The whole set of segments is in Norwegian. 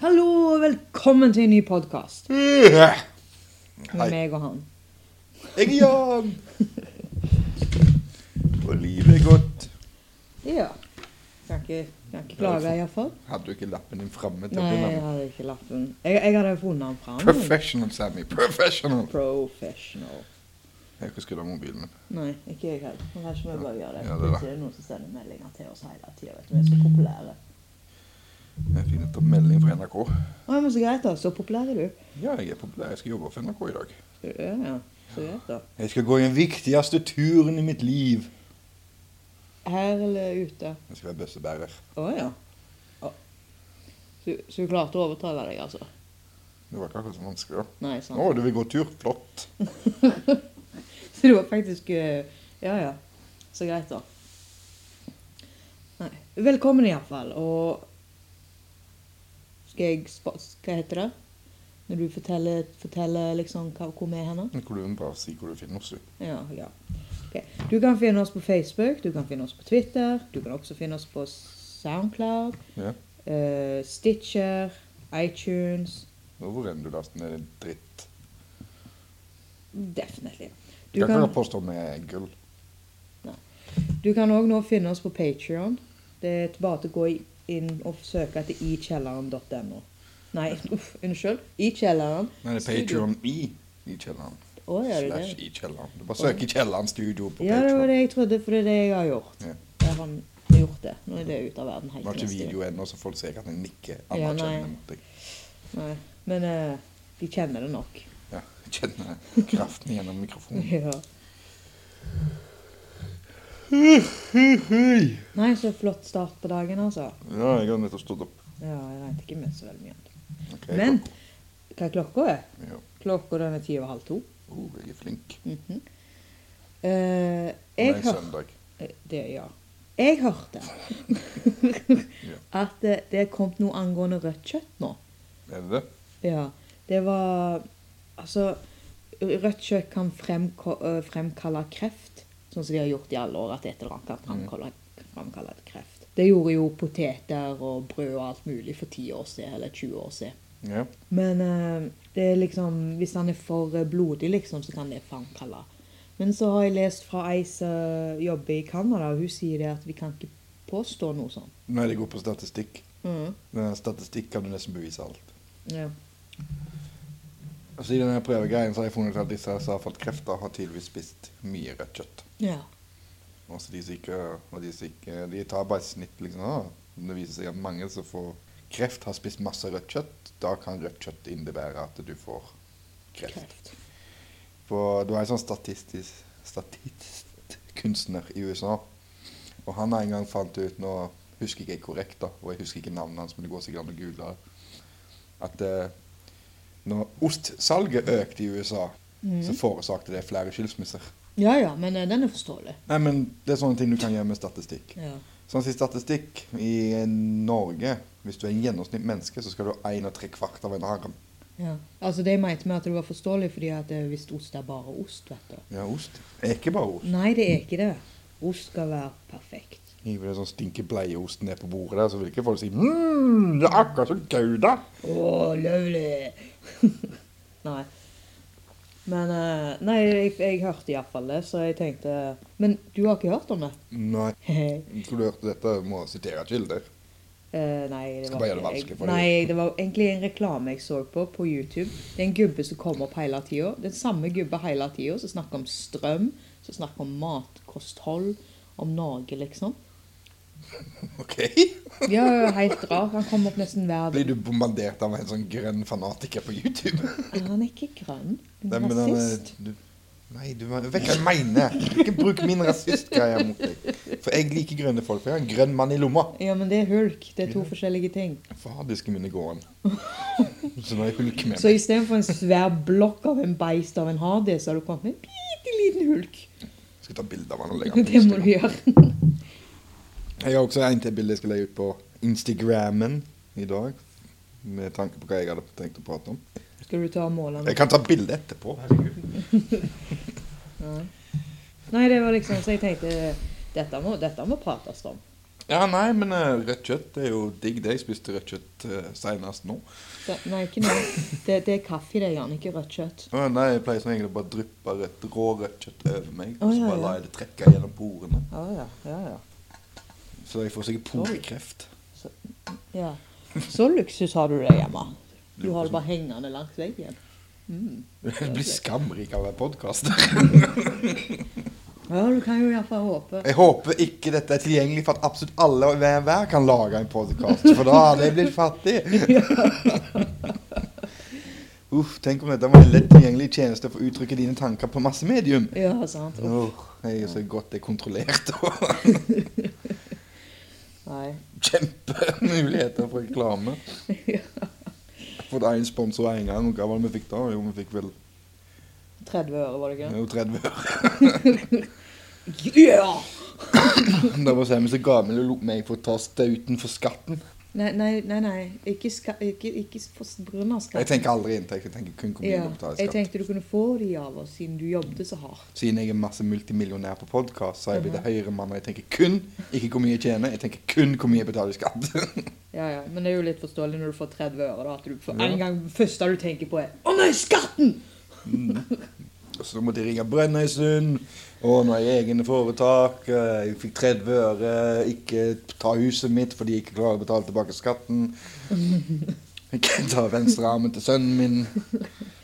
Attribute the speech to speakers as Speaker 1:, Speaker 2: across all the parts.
Speaker 1: Hallo og velkommen til en ny podkast
Speaker 2: Jeg Hei.
Speaker 1: med meg og han.
Speaker 2: er Jan. Og livet er godt.
Speaker 1: Ja. Kan ikke, kan ikke klage, iallfall.
Speaker 2: Hadde du ikke lappen din framme? til
Speaker 1: Nei,
Speaker 2: å
Speaker 1: jeg
Speaker 2: begynne med?
Speaker 1: hadde ikke lappen. Jeg, jeg hadde funnet den fram.
Speaker 2: Professional, Sammy. Professional.
Speaker 1: Professional.
Speaker 2: Jeg kan skru av mobilen min.
Speaker 1: Nei, ikke jeg heller. Men kanskje vi bare gjør det.
Speaker 2: Ja, det er
Speaker 1: det
Speaker 2: det.
Speaker 1: er noen som sender meldinger til oss hele tida. Vet du, vi er så populære.
Speaker 2: Jeg fikk nettopp melding fra NRK.
Speaker 1: Å, men så greit, da. Så populær er du.
Speaker 2: Ja, jeg er populær. Jeg skal jobbe for NRK i dag.
Speaker 1: Ja, ja. Så greit, da.
Speaker 2: Jeg skal gå i den viktigste turen i mitt liv.
Speaker 1: Her eller ute?
Speaker 2: Jeg skal være bøssebærer.
Speaker 1: Å ja. Å. Så, så du klarte å overtale deg, altså?
Speaker 2: Det var ikke akkurat så vanskelig. da.
Speaker 1: Nei, sant.
Speaker 2: Å, du vil gå tur? Flott.
Speaker 1: Så det var faktisk eh, Ja, ja. Så greit, da. Nei. Velkommen, iallfall. Og skal jeg spa- Hva heter det? Når du forteller, forteller liksom hva, hvor vi er henne?
Speaker 2: Nå kan du bare si hvor du finner oss. du.
Speaker 1: Ja, ja. Ok. Du kan finne oss på Facebook, du kan finne oss på Twitter, du kan også finne oss på Soundcloud,
Speaker 2: Ja.
Speaker 1: eh, Stitcher, iTunes
Speaker 2: Og Hvor enn du laster ned dritt.
Speaker 1: Definitely. Du
Speaker 2: Du kan
Speaker 1: kan,
Speaker 2: ikke påstå vi er gull.
Speaker 1: Du kan òg nå finne oss på Patrion. Det er bare til å gå inn og søke etter ikjelleren.no. Nei, uff, unnskyld. Ikjelleren.
Speaker 2: Nei, det er
Speaker 1: Studio.
Speaker 2: Patreon i, i kjelleren.
Speaker 1: Å, gjør du
Speaker 2: Slash
Speaker 1: det?
Speaker 2: i kjelleren. Du bare søker i kjelleren studio på
Speaker 1: Ja, det var
Speaker 2: Patreon.
Speaker 1: det jeg trodde, for det er det jeg har gjort.
Speaker 2: Ja.
Speaker 1: Jeg har har gjort det. Nå er det ute av verden
Speaker 2: Det
Speaker 1: helt
Speaker 2: var ikke
Speaker 1: neste gang.
Speaker 2: video ennå, så folk ser ikke at jeg nikker
Speaker 1: Ja,
Speaker 2: anerkjennende
Speaker 1: nei.
Speaker 2: mot deg.
Speaker 1: Nei, Men eh, de kjenner det nok.
Speaker 2: Ja, jeg kjenner kraften gjennom mikrofonen.
Speaker 1: Ja.
Speaker 2: Ja,
Speaker 1: Nei, så flott start på dagen, altså.
Speaker 2: jeg har nettopp stått opp.
Speaker 1: Ja, jeg regnet ikke med så veldig mye annet.
Speaker 2: Ok,
Speaker 1: Men-
Speaker 2: klokka.
Speaker 1: Hva er klokka? er?
Speaker 2: Ja.
Speaker 1: Klokka den er ti over halv to.
Speaker 2: Oh, jeg er flink.
Speaker 1: Mhm. Eh,
Speaker 2: Det
Speaker 1: jeg
Speaker 2: er en
Speaker 1: har
Speaker 2: søndag.
Speaker 1: Eh, Det, ja. Jeg hørte at det, det er kommet noe angående rødt kjøtt nå.
Speaker 2: Er det det?
Speaker 1: Ja, det var Altså, rødt kjøtt kan fremko, eh, fremkalle kreft, sånn som de har gjort i alle år. At et eller annet kan fremkalle, fremkalle kreft. Det gjorde jo poteter og brød og alt mulig for 10 år siden, eller 20 år siden.
Speaker 2: Ja.
Speaker 1: Men eh, det er liksom Hvis han er for eh, blodig, liksom, så kan det fremkalle. Men så har jeg lest fra ei som jobber i Canada, og hun sier det at vi kan ikke påstå noe sånt.
Speaker 2: Nei, det går på statistikk.
Speaker 1: Mm.
Speaker 2: Med statistikk kan du nesten bevise alt.
Speaker 1: Ja.
Speaker 2: Altså, I denne prøvegreien så har jeg funnet ut at disse som har fått krefter, har tydeligvis spist mye rødt kjøtt.
Speaker 1: ja.
Speaker 2: Altså, de, som ikke, og de, som ikke, de tar bare et snitt. liksom. Ah, det viser seg at mange som får kreft, har spist masse rødt kjøtt. Da kan rødt kjøtt innebære at du får kreft.
Speaker 1: Kreft.
Speaker 2: For du er en sånn statistisk statistkunstner i USA. Og han en gang fant ut Nå husker ikke jeg korrekt, da, og jeg husker ikke navnet hans, men det går sikkert an å google det. At eh, når ostsalget økte i USA, så forårsakte det flere skilsmisser.
Speaker 1: Mm. Ja ja, men eh, den er forståelig.
Speaker 2: Nei, men Det er sånne ting du kan gjøre med statistikk.
Speaker 1: Ja.
Speaker 2: Sånn sier statistikk i Norge Hvis du er en gjennomsnitt menneske, så skal du ha en og tre kvart av en arm.
Speaker 1: ja. Altså, de mente med at det var forståelig fordi at eh, hvis ost er bare ost, vet du.
Speaker 2: Ja, ost. Er ikke bare ost.
Speaker 1: Nei, det er ikke det. Ost skal være perfekt.
Speaker 2: Hiver det sånn stinker bleieost ned på bordet der, så vil ikke folk si mm, det er akkurat som Gouda.
Speaker 1: Å, lovely! nei. Men eh, Nei, jeg, jeg hørte iallfall det, så jeg tenkte Men du har ikke hørt om det?
Speaker 2: Nei,
Speaker 1: Eh,
Speaker 2: skulle du hørt dette, må jeg sitere et kilde.
Speaker 1: nei, det
Speaker 2: Skal
Speaker 1: var
Speaker 2: bare gjøre det
Speaker 1: ikke-
Speaker 2: vanskelig
Speaker 1: jeg-
Speaker 2: for deg.
Speaker 1: Nei, det var egentlig en reklame jeg så på på YouTube. Det er en gubbe som kommer opp hele tida. Den samme gubbe hele tida som snakker om strøm, som snakker om matkosthold, om Norge, liksom.
Speaker 2: OK?
Speaker 1: Ja, helt rar. Han kommer opp nesten hver dag.
Speaker 2: Blir du bombardert av en sånn grønn fanatiker på YouTube?
Speaker 1: Han er ikke grønn. Han
Speaker 2: Nei,
Speaker 1: er
Speaker 2: men han er-
Speaker 1: rasist.
Speaker 2: du, nei, du vet hva jeg mener. Ikke bruk min rasistgreie mot deg. For jeg liker grønne folk. For jeg har en grønn mann i lomma.
Speaker 1: Ja, men det er hulk. Det er to forskjellige ting.
Speaker 2: Fadisken min er gåen. Så nå er jeg hulk med
Speaker 1: Så istedenfor en svær blokk av en beist av en hardis, har du kommet med en bitte liten hulk.
Speaker 2: Jeg skal ta bilde av han og legge han på
Speaker 1: Det må du
Speaker 2: Instagram.
Speaker 1: gjøre.
Speaker 2: Jeg har også en til bilde jeg skal legge ut på Instagrammen i dag. Med tanke på hva jeg hadde tenkt å prate om.
Speaker 1: Skal du ta målene?
Speaker 2: Jeg kan ta bilde etterpå. herregud.
Speaker 1: Nei, det var liksom så jeg tenkte dette må, dette må prates om.
Speaker 2: Ja, nei, men eh, rødt kjøtt er jo digg. det. Jeg spiste rødt kjøtt eh, senest nå.
Speaker 1: Det, nei, ikke nå. Det, det er kaffe, det er gjerne ikke rødt kjøtt.
Speaker 2: Å, nei, Jeg pleier som egentlig bare å dryppe rødt, rå rødt kjøtt over meg.
Speaker 1: Å,
Speaker 2: og så
Speaker 1: ja,
Speaker 2: bare
Speaker 1: ja.
Speaker 2: lar jeg det trekke gjennom porene.
Speaker 1: Ja, ja, ja, ja.
Speaker 2: Så jeg får sikkert porekreft.
Speaker 1: Ja. Så luksus har du det hjemme. Du har
Speaker 2: Luksus.
Speaker 1: det bare hengende langs veggen. Mm.
Speaker 2: Jeg blir skamrik av en podkast.
Speaker 1: Ja, du kan jo iallfall håpe.
Speaker 2: Jeg håper ikke dette er tilgjengelig for at absolutt alle og hver, hver kan lage en podkast, for da hadde jeg blitt fattig. Uff, tenk om dette var en lett tilgjengelig tjeneste for å uttrykke dine tanker på masse medium.
Speaker 1: Ja, sant. Uff,
Speaker 2: Åh, jeg er så godt det er kontrollert og
Speaker 1: Nei.
Speaker 2: kjempemuligheter for reklame. Fått én sponsor én gang, og hva var det vi fikk da? Jo, vi fikk vel
Speaker 1: 30 øre, var det ikke?
Speaker 2: jo, 30 øre.
Speaker 1: Ja!
Speaker 2: Da var Sammy så gammel og lot meg få ta stauten for skatten.
Speaker 1: Nei, nei, nei. nei. Ikke, ska, ikke, ikke for brunna skatt.
Speaker 2: Jeg tenker aldri inntekt, jeg tenker kun hvor mye
Speaker 1: ja.
Speaker 2: jeg betaler i
Speaker 1: Jeg
Speaker 2: skatt.
Speaker 1: tenkte du kunne få de av oss, siden du jobbet så hardt.
Speaker 2: Siden jeg er masse multimillionær på podkast, så har jeg blitt høyere mann. Og jeg tenker kun ikke hvor mye jeg tjener, jeg tenker kun hvor mye jeg betaler i skatt.
Speaker 1: Ja, ja. Men det er jo litt forståelig når du får 30 øre. da, at du får
Speaker 2: Ja.
Speaker 1: En gang første du tenker på, er 'Å nei, skatten!'
Speaker 2: Og så måtte jeg ringe Brønnøysund, og nå er jeg egne foretak. eh, Jeg fikk 30 øre. Ikke ta huset mitt fordi jeg ikke klarer å betale tilbake skatten. Ikke ta venstre armen til sønnen min.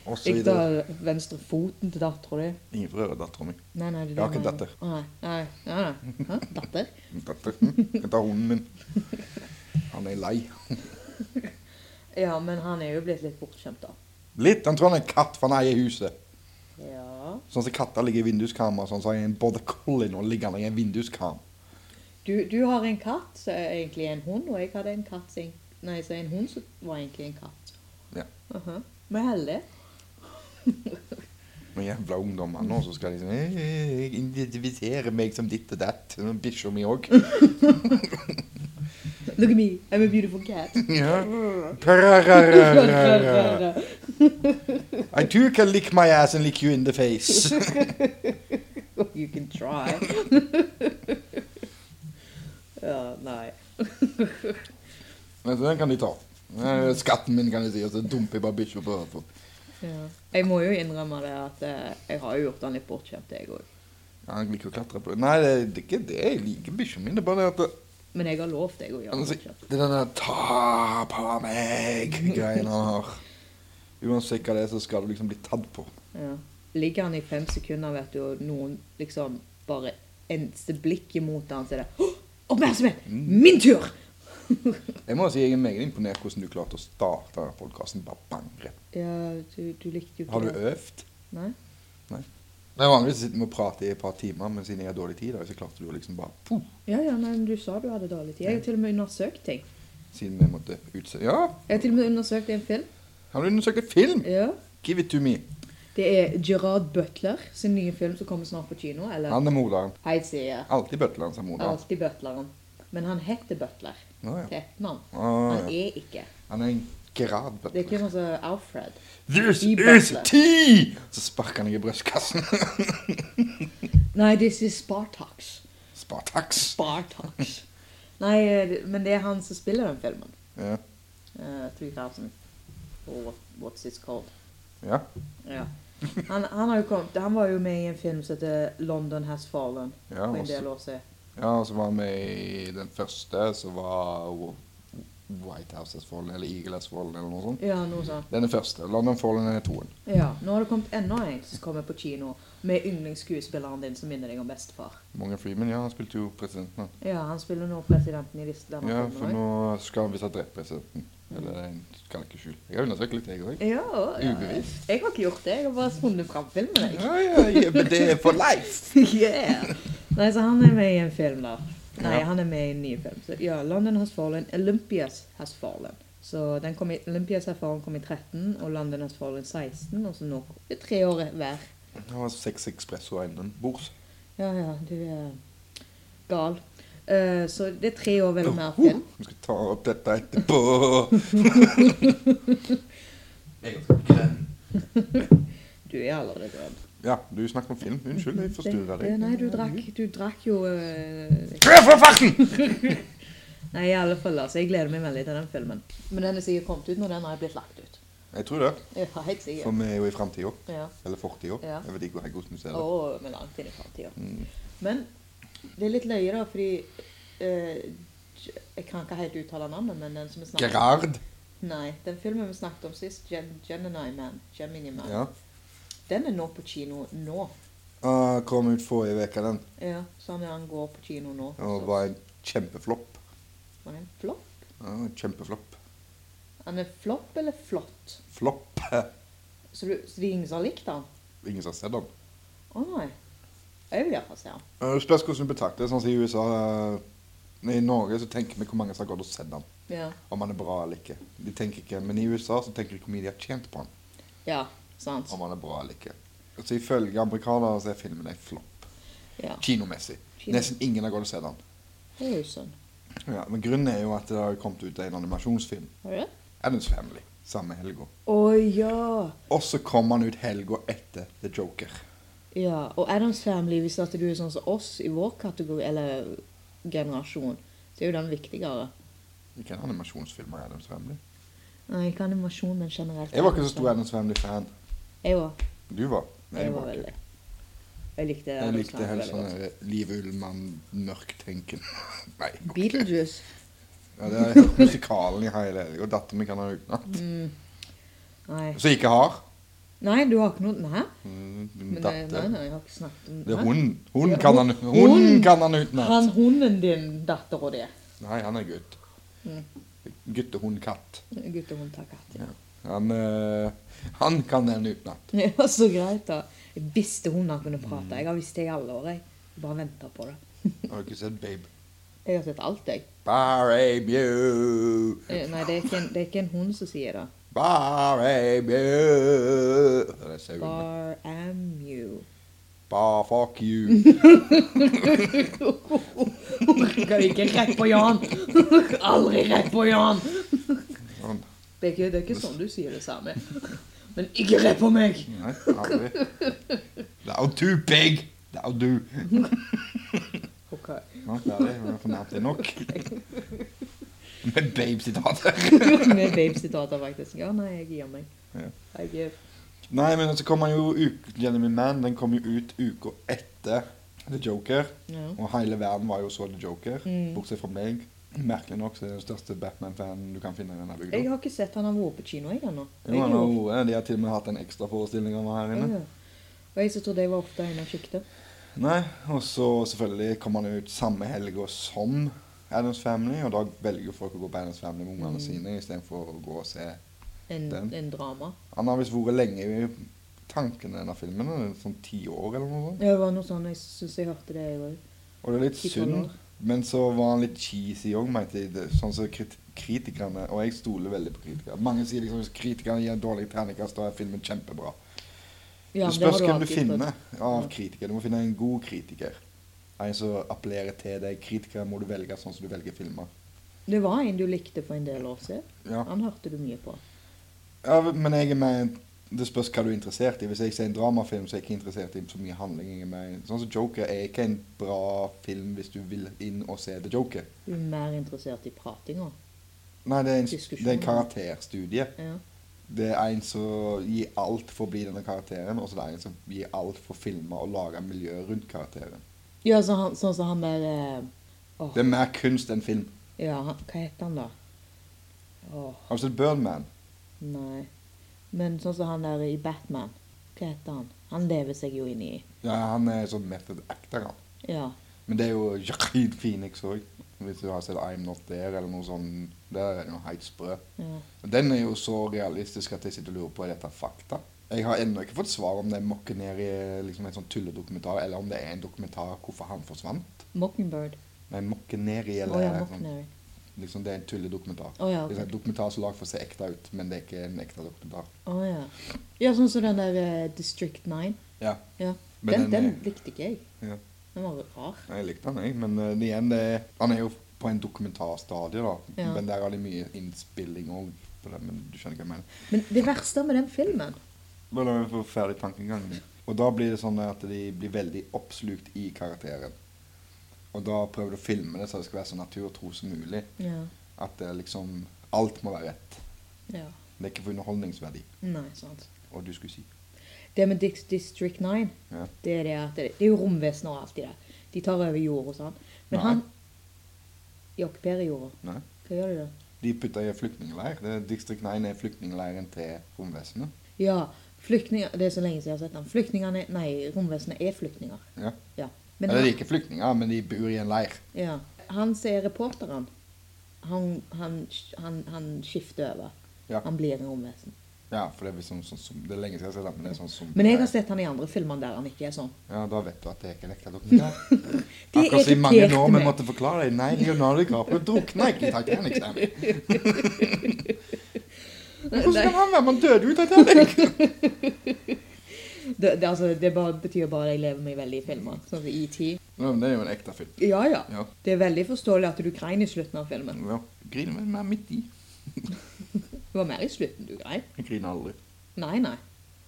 Speaker 2: Og så
Speaker 1: Ikke ta
Speaker 2: videre.
Speaker 1: venstre foten til dattera di.
Speaker 2: Ingen prøver dattera mi.
Speaker 1: Nei, nei, det er
Speaker 2: Jeg har
Speaker 1: det
Speaker 2: ikke
Speaker 1: mener.
Speaker 2: datter.
Speaker 1: Å, nei, nei, nei, nei. Hæ? Datter?
Speaker 2: Datter. Jeg tar hunden min. Han er lei.
Speaker 1: Ja, men han er jo blitt litt bortskjemt, da.
Speaker 2: Litt. Han tror han er en katt, for han eier huset.
Speaker 1: Ja.
Speaker 2: Sånn som katter ligger i vinduskarmer, sånn som en border collie nå ligger han i en vinduskam.
Speaker 1: Du, du har en katt som er egentlig en hund, og jeg hadde en katt som Nei, så en hund som var egentlig en katt.
Speaker 2: Ja.
Speaker 1: Aha. Vi er heldige.
Speaker 2: Med jævla ungdommer nå som skal liksom «Eh, eh, Jeg identifiserer meg som ditt og datt. Sånn Bikkja mi òg.
Speaker 1: Look at me, I'm a beautiful cat.
Speaker 2: Ja. Prarararara. I too can lick my ass and lick you in the face.
Speaker 1: you can try. ja, nei.
Speaker 2: Men så den kan de ta. Eh, Skatten min, kan de si. Og så dumper jeg bare bikkja på på-
Speaker 1: Ja. Jeg må jo innrømme det at eh, jeg har jo gjort han litt bortskjemt, jeg òg.
Speaker 2: Ja, Han liker å klatre på Nei, det det er ikke det. Jeg liker bikkja mi. Det er bare det at det-
Speaker 1: Men jeg har lovt deg å gjøre
Speaker 2: Han
Speaker 1: han
Speaker 2: sier-
Speaker 1: bortskjemt.
Speaker 2: Det er den der 'ta på meg'-greien han har. Uansett hva det er, så skal du liksom bli tatt på.
Speaker 1: Ja. Ligger han i fem sekunder, vet du, og noen liksom bare eneste blikk imot han, så er det «Åh, Oppmerksomhet! Min tur!
Speaker 2: Jeg må si jeg er meget imponert hvordan du klarte å starte denne podkasten. Bare bang rett.
Speaker 1: Ja, du, du likte jo ikke
Speaker 2: Har du
Speaker 1: det.
Speaker 2: øvd?
Speaker 1: Nei?
Speaker 2: Nei, Vanligvis sitter vi og prater i et par timer, men siden jeg har dårlig tid, da, så klarte du å liksom bare puh,
Speaker 1: Ja, ja, men du sa du hadde dårlig tid. Jeg har til og med undersøkt ting.
Speaker 2: Siden vi måtte utse... Ja!
Speaker 1: Jeg har til og med undersøkt en film.
Speaker 2: Har du undersøkt en film?
Speaker 1: Ja.
Speaker 2: Give it to me.
Speaker 1: Det er Gerard Butler sin nye film som kommer snart på kino. Eller
Speaker 2: Han er moderen.
Speaker 1: Hei, sier jeg.
Speaker 2: Alltid bøtleren som er moderen.
Speaker 1: Alltid Butleren. Men han heter Butler
Speaker 2: Å, ja.
Speaker 1: til etternavn.
Speaker 2: Å,
Speaker 1: Han
Speaker 2: ja.
Speaker 1: er ikke.
Speaker 2: Han er en Gerard
Speaker 1: Det er ikke
Speaker 2: Butler.
Speaker 1: sånn som Alfred.
Speaker 2: This
Speaker 1: i
Speaker 2: is
Speaker 1: Butler.
Speaker 2: tea! Så sparker han deg i brystkassen.
Speaker 1: Nei, this is Spartax.
Speaker 2: Spartaks.
Speaker 1: Spartax. Nei, eh, men det er han som spiller den filmen.
Speaker 2: Ja.
Speaker 1: Eh, 3000. Or what, what's it called?
Speaker 2: ja.
Speaker 1: Ja. Han, han, har jo kommet, han var jo med i en film som heter London Has Fallen.
Speaker 2: Ja,
Speaker 1: for en
Speaker 2: også-
Speaker 1: del år siden.
Speaker 2: Ja, og så var han med i den første, som var Wo- White House as Fallen, eller Eagle as Fallen, eller noe sånt.
Speaker 1: Ja, noe sånt.
Speaker 2: Den er første. London Fallen er toen.
Speaker 1: Ja, Nå har det kommet enda en som kommer på kino med yndlingsskuespilleren din som minner deg om bestefar.
Speaker 2: Morgan Freeman, ja, han spilte jo presidenten. han.
Speaker 1: Ja, han spiller nå presidenten i disse denne
Speaker 2: Ja,
Speaker 1: filmen også.
Speaker 2: for nå skal han visst ha drept presidenten. Eller en kalkeskjul. Jeg har undersøkt litt, jeg òg.
Speaker 1: Ja, ja.
Speaker 2: Ubevisst.
Speaker 1: Jeg har ikke gjort det. Jeg har bare spunnet fram filmen. jeg.
Speaker 2: Ja, ja, ja, men det er for life!
Speaker 1: yeah. Nei, så han er med i en film da. Nei,
Speaker 2: Ja.
Speaker 1: han er med i en ny film. Så, ja, London Has Fallen, Olympias Has Fallen. Så den kom i, Olympias Has Fallen kom i 13, og London Has Fallen 16, og så nå det er tre år hver.
Speaker 2: Han var seks espresso innenbords.
Speaker 1: Ja, ja, du er gal. Eh, så det er tre år vel mer
Speaker 2: Oh,
Speaker 1: film.
Speaker 2: Vi skal ta opp dette etterpå.
Speaker 1: Du er allerede grønn.
Speaker 2: Ja, du snakker om film. Unnskyld, jeg forstyrra deg.
Speaker 1: Nei, du drakk, du drakk jo eh,
Speaker 2: Kjør for farten!
Speaker 1: Nei, i alle fall, altså. Jeg gleder meg veldig til den filmen. Men den er sikkert kommet ut når den har blitt lagt ut.
Speaker 2: Jeg tror det.
Speaker 1: Ja, helt
Speaker 2: For
Speaker 1: sikkert.
Speaker 2: vi er jo i framtida.
Speaker 1: Ja.
Speaker 2: Eller fortida.
Speaker 1: Ja.
Speaker 2: Jeg vet ikke hvor- hvordan du ser det.
Speaker 1: Og med langt inn i framtida.
Speaker 2: Mm.
Speaker 1: Men det er litt løye, da, fordi eh, J- Jeg kan ikke helt uttale navnet, men den som vi snakket
Speaker 2: Gerard.
Speaker 1: Nei, den filmen vi snakket om sist, Gen Gemini Man, Gemini Man
Speaker 2: Ja.
Speaker 1: den er nå på kino nå.
Speaker 2: Ah, kom ut forrige uke, den.
Speaker 1: Ja, sånn at han går på kino nå.
Speaker 2: Og
Speaker 1: så-
Speaker 2: var en kjempeflopp.
Speaker 1: var det en flopp?
Speaker 2: Ja, kjempeflopp.
Speaker 1: Han er flopp eller flott?
Speaker 2: Flopp.
Speaker 1: Så, du, så det er ingen som har likt han?
Speaker 2: Ingen som har sett den.
Speaker 1: Å nei. Jeg vil iallfall se han.
Speaker 2: Eh, Det spørs hvordan du betrakter det. Sånn som I USA eh, I Norge så tenker vi hvor mange som har gått og sett den.
Speaker 1: Ja.
Speaker 2: Om han er bra eller ikke. De tenker ikke, Men i USA så tenker de hvor mye de har tjent på han.
Speaker 1: ja, sant.
Speaker 2: Om han er bra eller ikke. Så ifølge amerikanere så er filmen en flopp.
Speaker 1: Ja.
Speaker 2: Kinomessig.
Speaker 1: Kino.
Speaker 2: Nesten ingen har gått og sett den.
Speaker 1: Det er jo sånn.
Speaker 2: Ja, men grunnen er jo at det har kommet ut en animasjonsfilm.
Speaker 1: Har du det?
Speaker 2: Adams Family. Samme helga.
Speaker 1: Å ja.
Speaker 2: Og så kom han ut helga etter The Joker.
Speaker 1: Ja, og Adams Family, hvis at du er sånn som oss i vår kategori, eller generasjon, så er jo den viktigere.
Speaker 2: Ikke en animasjonsfilm av Adams Family.
Speaker 1: Nei, ikke animasjon, men generelt.
Speaker 2: Jeg var ikke så stor Adams Family-fan.
Speaker 1: Jeg var,
Speaker 2: Du var. Nei,
Speaker 1: jeg var
Speaker 2: ikke.
Speaker 1: veldig. Jeg likte
Speaker 2: Jeg likte
Speaker 1: Family
Speaker 2: helt sånn der Liv Ullmann, mørktenken. Nei.
Speaker 1: Beetlejuice.
Speaker 2: Ja, det er helt musikalen i hele helga. Datteren min kan ha utenat.
Speaker 1: Mm. Nei.
Speaker 2: Så jeg ikke har.
Speaker 1: nei, du har ikke noe Hæ?
Speaker 2: Mm,
Speaker 1: Men, nei, nei,
Speaker 2: Datter.
Speaker 1: nei, jeg har ikke snakket om
Speaker 2: Det er
Speaker 1: Hæ?
Speaker 2: hun. Hun
Speaker 1: Ja,
Speaker 2: kan han,
Speaker 1: hun-
Speaker 2: hun
Speaker 1: hun.
Speaker 2: kan han utenat.
Speaker 1: Han hunden din, datter og det.
Speaker 2: Nei, han er gutt.
Speaker 1: Mm.
Speaker 2: Guttehund-katt.
Speaker 1: Guttehund tar katt. Ja.
Speaker 2: Han, eh, han kan den utenat.
Speaker 1: ja, så greit, da. Jeg visste hunder kunne
Speaker 2: Mm.
Speaker 1: prate. Jeg har visst det i alle år. Jeg bare venta på det.
Speaker 2: Har du ikke sett Babe?
Speaker 1: Jeg har sett alt, jeg.
Speaker 2: Barabue,
Speaker 1: Eh, Nei, det er ikke en, det er ikke en hund som sier det.
Speaker 2: barabue. Det er sauen.
Speaker 1: Bar am you.
Speaker 2: Bar fuck you.
Speaker 1: Orker ikke rett på Jan! Aldri rett på Jan!
Speaker 2: Sånn.
Speaker 1: Det er ikke, det er ikke sånn du sier det samme. Men ikke rett på meg!
Speaker 2: Nei, aldri. Det er jo du, pig! Det er jo du.
Speaker 1: Ok.
Speaker 2: Ja, det er det. Jeg fornærmet deg nok. Med babe-sitater.
Speaker 1: Med babesitater, faktisk. Ja, nei, jeg gir meg.
Speaker 2: Ja.
Speaker 1: Jeg er
Speaker 2: Nei, men så kom han jo ut, Jenny Man, den kom jo ut uka etter The Joker.
Speaker 1: ja.
Speaker 2: Og hele verden var jo så The Joker,
Speaker 1: Mm.
Speaker 2: bortsett fra meg. Merkelig nok så er jeg den største Batman-fanen du kan finne i denne bygda.
Speaker 1: Jeg har ikke sett han har vært på kino, jeg, ennå.
Speaker 2: Jo, han har jo- eh, De har til og med hatt en ekstraforestilling av han her inne.
Speaker 1: Ja. Og jeg som trodde jeg var ofte inne og kikket.
Speaker 2: Nei, Og så selvfølgelig kom han ut samme helga som Adams Family, og da velger jo folk å gå på Adams Family med ungene
Speaker 1: Mm.
Speaker 2: sine istedenfor å gå og se.
Speaker 1: En,
Speaker 2: Den?
Speaker 1: en drama.
Speaker 2: Han har visst vært lenge i tankene i denne filmen, en sånn ti år eller noe sånt.
Speaker 1: Ja, Det var noe sånn jeg syns jeg hørte det, jeg òg.
Speaker 2: Og det er litt
Speaker 1: Ti, tolv
Speaker 2: synd,
Speaker 1: år.
Speaker 2: men så var han litt cheesy òg, mente jeg. Det- Sånn som krit kritikerne Og jeg stoler veldig på kritikere. Mange sier liksom hvis kritikerne gir en dårlig terningkast, da er filmen kjempebra.
Speaker 1: Ja, men
Speaker 2: det
Speaker 1: det har
Speaker 2: spørs hvem du
Speaker 1: alltid trodd.
Speaker 2: finner av kritikere. Du må finne en god kritiker. En som appellerer til deg. Kritikere må du velge sånn som du velger filmer.
Speaker 1: Det var en du likte for en del år siden.
Speaker 2: Ja.
Speaker 1: Han hørte du mye på.
Speaker 2: ja, Men jeg er med Det spørs hva du er interessert i. Hvis jeg ser en dramafilm, så er jeg ikke interessert i så mye handling. Jeg er med. Sånn som Joker er ikke en bra film hvis du vil inn og se The Joker.
Speaker 1: Du er mer interessert i pratinga.
Speaker 2: Nei, det er en,
Speaker 1: Diskusjon.
Speaker 2: det er en karakterstudie.
Speaker 1: Ja.
Speaker 2: Det er en som gir alt for å bli denne karakteren, og så er det en som gir alt for å filme og lage miljø rundt karakteren.
Speaker 1: Ja, så han, sånn som han der eh, åh,
Speaker 2: Det er mer kunst enn film.
Speaker 1: Ja, han, hva heter han da? Åh,
Speaker 2: Har du sett Birdman?
Speaker 1: nei. Men sånn som han der i Batman. Hva heter han? Han lever seg jo inn i
Speaker 2: Ja, han er sånn method actor, han.
Speaker 1: Ja.
Speaker 2: Men det er jo Jared Phoenix òg. Hvis du har sett I'm Not There eller noe sånt. Der er det noe helt sprø.
Speaker 1: ja.
Speaker 2: Den er jo så realistisk at jeg sitter og lurer på er dette fakta. Jeg har ennå ikke fått svar om det er Mockinary, liksom en sånn tulledokumentar, eller om det er en dokumentar hvorfor han forsvant.
Speaker 1: Mockingbird.
Speaker 2: Nei, Mockinary
Speaker 1: Å
Speaker 2: eller
Speaker 1: ja,
Speaker 2: sånn,
Speaker 1: Mockinary.
Speaker 2: liksom Det er en tulledokumentar.
Speaker 1: Å ja, ok.
Speaker 2: Det er en dokumentar som lag for å se ekte ut, men det er ikke en ekte dokumentar.
Speaker 1: Å ja. Ja, sånn som den der eh, District 9.
Speaker 2: Ja,
Speaker 1: Ja. Den,
Speaker 2: Men den
Speaker 1: den
Speaker 2: er-
Speaker 1: likte ikke jeg.
Speaker 2: Ja.
Speaker 1: Den var rar.
Speaker 2: jeg likte han, jeg. Men eh, igjen, det er, han er jo på en dokumentarstadie, da.
Speaker 1: Ja.
Speaker 2: Men der har de mye innspilling òg. Men du skjønner hva jeg mener.
Speaker 1: Men det verste med den filmen
Speaker 2: Bare la meg få ferdig tankegangen. Og da blir det sånn at de blir veldig oppslukt i karakteren. Og da prøvde jeg å filme det så det skal være så naturtro som mulig.
Speaker 1: Ja.
Speaker 2: At det liksom Alt må være rett.
Speaker 1: ja.
Speaker 2: Det er ikke for underholdningsverdi.
Speaker 1: Nei, sant.
Speaker 2: Og du skulle si
Speaker 1: Det med Dix- District 9,
Speaker 2: Ja.
Speaker 1: det er det at det, det er jo romvesener og alt det der. De tar over jorda og sånn. Men
Speaker 2: Nei.
Speaker 1: han De okkuperer jorda.
Speaker 2: Nei.
Speaker 1: Hva gjør de da?
Speaker 2: De putta i en flyktningleir. Det er District 9 er flyktningleiren til romvesenet.
Speaker 1: Ja, flyktninger Det er så lenge siden jeg har sett den. Flyktningene Nei, romvesenet er flyktninger.
Speaker 2: Ja.
Speaker 1: Ja.
Speaker 2: Eller de
Speaker 1: han,
Speaker 2: er ikke flyktninger, men de bor i en leir.
Speaker 1: ja. han som er reporteren, han, han, han, han skifter over.
Speaker 2: Ja.
Speaker 1: Han blir en romvesen.
Speaker 2: Ja, for det er, sånn, sånn, som- det er lenge siden jeg har sett det, men det er sånn som
Speaker 1: Men jeg har sett han i andre filmer der han ikke er sånn.
Speaker 2: Ja, da vet du at det er ikke en ekte dokumentar.
Speaker 1: De
Speaker 2: Akkurat som i mange
Speaker 1: irriterte
Speaker 2: år vi
Speaker 1: meg.
Speaker 2: måtte forklare deg. Nei, Leonardo DiCaprio drukna ikke i Titanic. sa vi. Men Hvordan kan han være? Man døde jo i Titanic.
Speaker 1: Det, det, altså, det bare, betyr bare at jeg lever meg veldig i filmer. Sånn som ET.
Speaker 2: Nei, men det er jo en ekte film.
Speaker 1: Ja, ja.
Speaker 2: Ja.
Speaker 1: Det er veldig forståelig at du grein i slutten av filmen.
Speaker 2: ja. Griner men mer midt i.
Speaker 1: Det var mer i slutten du grein.
Speaker 2: Jeg griner aldri.
Speaker 1: Nei, nei.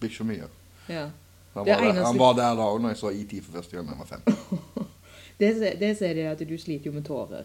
Speaker 2: Blir ikke så mye.
Speaker 1: Ja.
Speaker 2: Han
Speaker 1: Det
Speaker 2: var, der,
Speaker 1: eneste-
Speaker 2: han var der da òg, når jeg så ET for første gang da jeg var fem.
Speaker 1: Det som- det som er det at du sliter jo med tårer.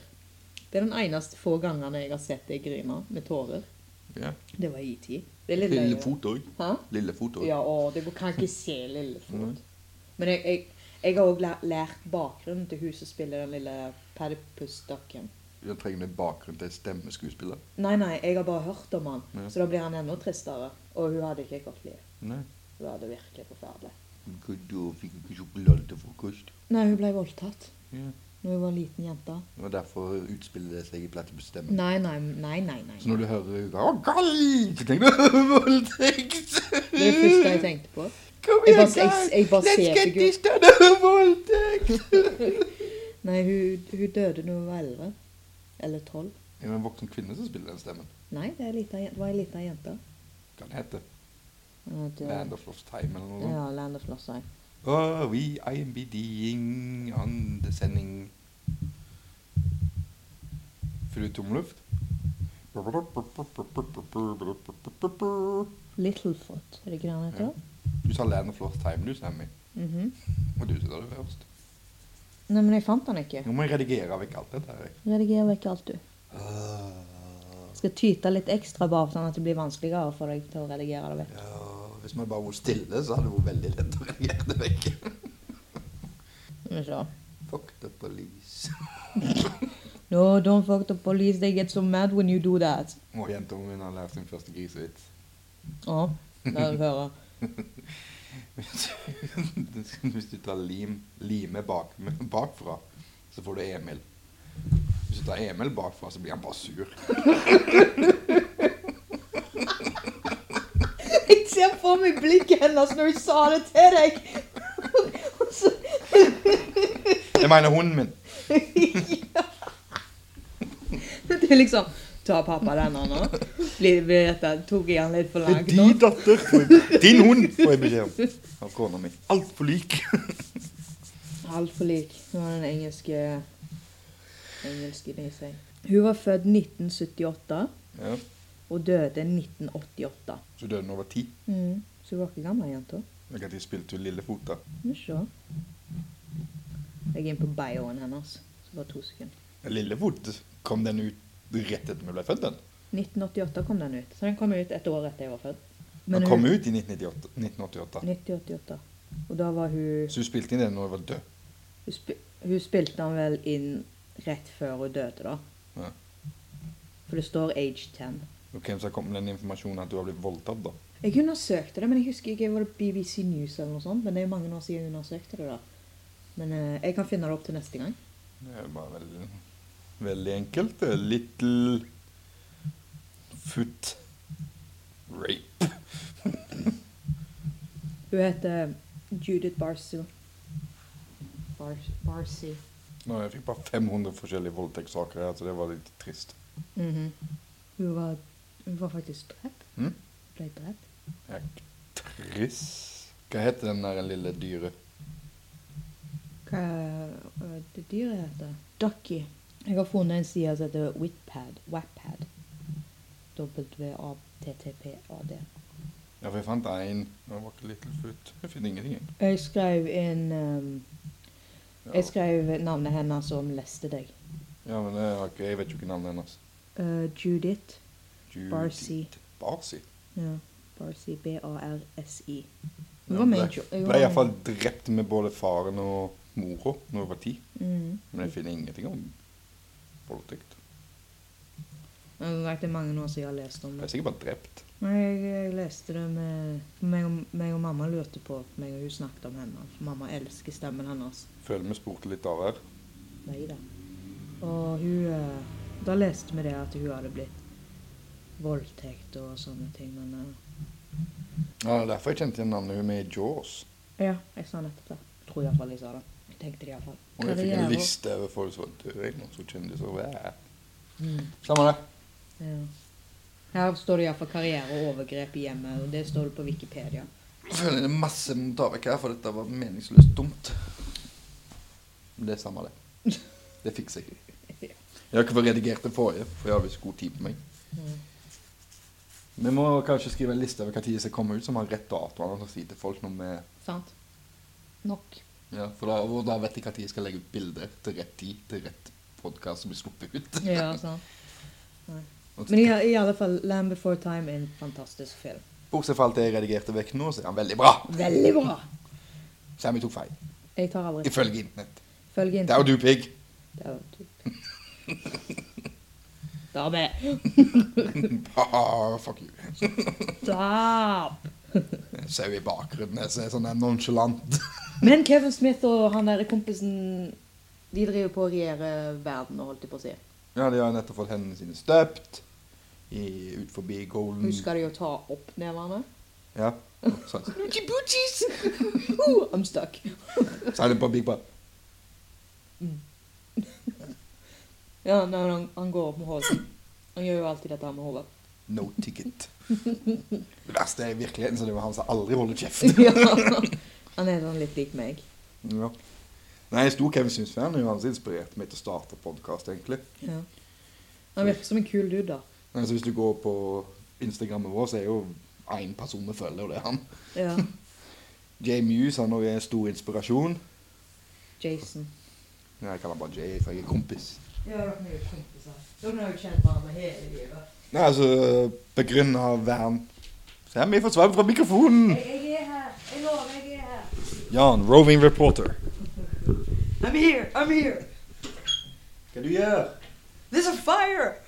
Speaker 1: Det er den eneste få gangene jeg har sett deg grine med tårer.
Speaker 2: Ja.
Speaker 1: Det var i tid. Det er litt løye.
Speaker 2: Lillefot òg.
Speaker 1: Hæ?
Speaker 2: Lillefot òg.
Speaker 1: Ja, å, det går- kan ikke se Lillefot.
Speaker 2: Nei.
Speaker 1: Men jeg, jeg, jeg har òg lært bakgrunnen til hun som spiller den lille Platypus-ducken.
Speaker 2: Jeg trenger litt bakgrunn til stemmeskuespiller.
Speaker 1: Nei, nei, jeg har bare hørt om han,
Speaker 2: Ja.
Speaker 1: så da blir han enda tristere. Og hun hadde ikke et godt liv.
Speaker 2: Nei.
Speaker 1: Hun hadde virkelig forferdelig.
Speaker 2: Da fikk jeg ikke sjokolade til frokost.
Speaker 1: Nei, hun ble voldtatt
Speaker 2: Ja.
Speaker 1: når hun var en liten jente.
Speaker 2: Det var derfor utspiller det seg i platebestemmen.
Speaker 1: Nei, nei, nei, nei. nei.
Speaker 2: Så når du hører Å, galt! Så tenker du voldtekt!
Speaker 1: Det er det første jeg tenkte på.
Speaker 2: Kom
Speaker 1: Jeg
Speaker 2: igjen,
Speaker 1: bare- jeg- jeg bare
Speaker 2: Let's
Speaker 1: ser
Speaker 2: get
Speaker 1: figuren.
Speaker 2: this done! Voldtekt!
Speaker 1: Nei, hun, hun døde når hun var elleve. Eller tolv.
Speaker 2: Det er jo en voksen kvinne som spiller den stemmen.
Speaker 1: Nei, det er lita, jen- det var ei lita jente.
Speaker 2: Hva den heter
Speaker 1: Hun het, eh,
Speaker 2: Land of Lost Time eller noe sånt.
Speaker 1: Ja, Land of Lost Eye.
Speaker 2: Oh, we IMBD-ing on the sending. Fyller du tomluft?
Speaker 1: Littlefoot, er det ikke det han heter?
Speaker 2: Du sa Land of Lost Time, du, Sammy.
Speaker 1: Mhm.
Speaker 2: Og du sa det først.
Speaker 1: Nei, men jeg fant han ikke.
Speaker 2: Nå må jeg redigere vekk alt dette her. jeg.
Speaker 1: Rediger vekk alt, du.
Speaker 2: Ah,
Speaker 1: Skal tyte litt ekstra bare sånn at det blir vanskeligere for deg til å redigere det vekk.
Speaker 2: Ja, hvis man bare var stille, så hadde det vært veldig lett å redigere det vekk.
Speaker 1: Skal vi se.
Speaker 2: Fuck the police.
Speaker 1: No, don't fuck the police, they get so mad when you do that.
Speaker 2: Og jentungen min har lært sin første grisevits.
Speaker 1: Å, la oss høre.
Speaker 2: Hvis du tar lim, lime bak, bakfra, så får du Emil. Hvis du tar Emil bakfra, så blir han bare sur.
Speaker 1: Jeg ser for meg blikket hennes når hun sa det til deg! Og så-
Speaker 2: Jeg mener hunden min.
Speaker 1: Ja. Det er liksom Ta pappa denne nå. Blir blir dette Tok jeg han litt for
Speaker 2: Det er
Speaker 1: langt
Speaker 2: din
Speaker 1: nå?
Speaker 2: datter. får jeg- Din hund, får jeg beskjed om. Av kona mi. Altfor lik.
Speaker 1: Altfor lik. Nå er den engelske engelske nisen. Hun var født 1978
Speaker 2: Ja.
Speaker 1: og døde 1988.
Speaker 2: Så døde hun over ti.
Speaker 1: Mm. Så hun var ikke gammel jente.
Speaker 2: Jeg at de spilte jo Lillefot da.
Speaker 1: Skal vi se. Jeg er inne på bioen hennes. altså. Så bare to sekunder.
Speaker 2: Lillefot, kom den ut rett etter vi ble født den?
Speaker 1: 1988 kom den ut. Så den kom ut et år etter jeg var født.
Speaker 2: Den kom ut i 1998. 1988.
Speaker 1: 1988. Og da var hun
Speaker 2: Så hun spilte inn den når hun var død.
Speaker 1: Hun, spi hun spilte den vel inn rett før hun døde, da.
Speaker 2: Ja.
Speaker 1: For det står age 10.
Speaker 2: Og hvem som kom med den informasjonen at du har blitt voldtatt da?
Speaker 1: Jeg undersøkte det, men jeg husker ikke var det BBC News eller noe sånt. Men det er jo mange år siden jeg undersøkte det, da. Men eh, jeg kan finne det opp til neste gang.
Speaker 2: Det er jo bare veldig, veldig enkelt. Det er Little foot rape.
Speaker 1: Hun heter Judith Barsu. Bar Barsi.
Speaker 2: Nå, jeg fikk bare 500 forskjellige voldtektssaker her, så det var litt trist.
Speaker 1: Mhm. hun, var, hun var faktisk drept.
Speaker 2: Mhm.
Speaker 1: Ble drept.
Speaker 2: Trist? Hva heter den der lille dyret?
Speaker 1: Hva øh, det dyret heter? Ducky. Jeg har funnet en side som heter Whitpad. Wappad. W-A-T-T-P-A-D.
Speaker 2: Ja, for jeg fant en. Den var ikke Little foot. Jeg finner ingenting. jeg.
Speaker 1: Jeg skrev en um, Jeg skrev navnet hennes som leste deg.
Speaker 2: Ja, men jeg, har ikke, jeg vet jo ikke navnet hennes.
Speaker 1: Eh, Judith
Speaker 2: Judy-
Speaker 1: Barcy.
Speaker 2: Barcy?
Speaker 1: Ja, Barsi. B-a-r-s-i. Hun
Speaker 2: Ja,
Speaker 1: var med i
Speaker 2: ble,
Speaker 1: tjo- hun var
Speaker 2: ble
Speaker 1: med.
Speaker 2: iallfall drept med både faren og mora når hun var ti.
Speaker 1: Mm.
Speaker 2: Men jeg finner ingenting om voldtekt.
Speaker 1: Det er ikke mange år siden jeg har lest om
Speaker 2: Hun
Speaker 1: det.
Speaker 2: er sikkert bare drept.
Speaker 1: Nei, jeg, jeg leste det med meg og, meg og mamma lurte på meg og hun snakket om henne. for Mamma elsker stemmen hennes.
Speaker 2: Føler vi spurte litt av her.
Speaker 1: Nei da. Og hun eh, Da leste vi det at hun hadde blitt voldtekt og sånne ting, men eh,
Speaker 2: Ja, det er derfor jeg kjente igjen navnet. Hun er med i Jaws.
Speaker 1: eh, Ja, jeg sa nettopp det. Jeg tror iallfall jeg sa det. Jeg tenkte det iallfall.
Speaker 2: Og jeg fikk en liste over folk som var døde, og så kjendiser. Hva?
Speaker 1: Mm,
Speaker 2: Samme det.
Speaker 1: ja. Her står det iallfall 'karriere og overgrep i hjemmet', og det står det på Wikipedia.
Speaker 2: Jeg føler det er masse vi må ta vekk her, for dette var meningsløst dumt. Men det er samme det. Det fikser jeg. Jeg har ikke fått redigert det forrige, for jeg har visst god tid på meg.
Speaker 1: Mm.
Speaker 2: Vi må kanskje skrive en liste over hva tid som kommer ut, som har rett dato. Og si til folk når vi
Speaker 1: Sant? Nok.
Speaker 2: Ja, for da, og da vet jeg når jeg skal legge ut bilder til rett tid til rett podkast som blir sluppet ut.
Speaker 1: Ja, sant. Nei.
Speaker 2: Og til-
Speaker 1: Men i, i alle fall 'Land Before Time' er en fantastisk film.
Speaker 2: Bortsett fra alt det jeg redigerte vekk nå, så er han veldig bra.
Speaker 1: Veldig bra!
Speaker 2: Sammy tok feil.
Speaker 1: Jeg tar aldri
Speaker 2: Ifølge Internett.
Speaker 1: Følg inn.
Speaker 2: Det er jo du, pigg.
Speaker 1: Det er jo typ. Dame!
Speaker 2: Ah, fuck you.
Speaker 1: Stop!
Speaker 2: Sau i bakgrunnen jeg ser sånn der nonchalant.
Speaker 1: Men Kevin Smith og han der kompisen De driver på å regjere verden, holdt jeg på å si.
Speaker 2: Ja, de har nettopp fått hendene sine støpt i, ut forbi Golden
Speaker 1: Husker de å ta opp nevene?
Speaker 2: Ja. sånn. Så
Speaker 1: Noochie boochies! Ooh, I'm stuck.
Speaker 2: så er det bare Big Bad.
Speaker 1: Ja, når han, han går opp med hodet. Han gjør jo alltid dette her med hodet.
Speaker 2: No ticket. Det verste er i virkeligheten, så det var han som aldri holder kjeft.
Speaker 1: Ja. Han er sånn litt lik meg.
Speaker 2: Ja. Nei, jeg sto Kevin Syns-fan, og han som inspirerte meg til å starte podkast, egentlig.
Speaker 1: Ja. Han virker som en kul dude, da.
Speaker 2: Nei, så hvis du går på Instagrammen vår, så er jo én person vi følger, og det er han.
Speaker 1: Ja.
Speaker 2: Jay Muse han også er en stor inspirasjon.
Speaker 1: Jason.
Speaker 2: Nei, jeg kaller han bare Jay, for jeg er kompis.
Speaker 1: Ja, dere er jo kompiser. Dere har jo kjent hverandre hele livet.
Speaker 2: Nei, altså, begrunna vern Sammy får svar fra mikrofonen!
Speaker 1: Jeg er her. Jeg lover, jeg er her.
Speaker 2: Jan, roving reporter.
Speaker 1: I'm here. I'm here.
Speaker 2: Hva du gjør?
Speaker 1: There's a fire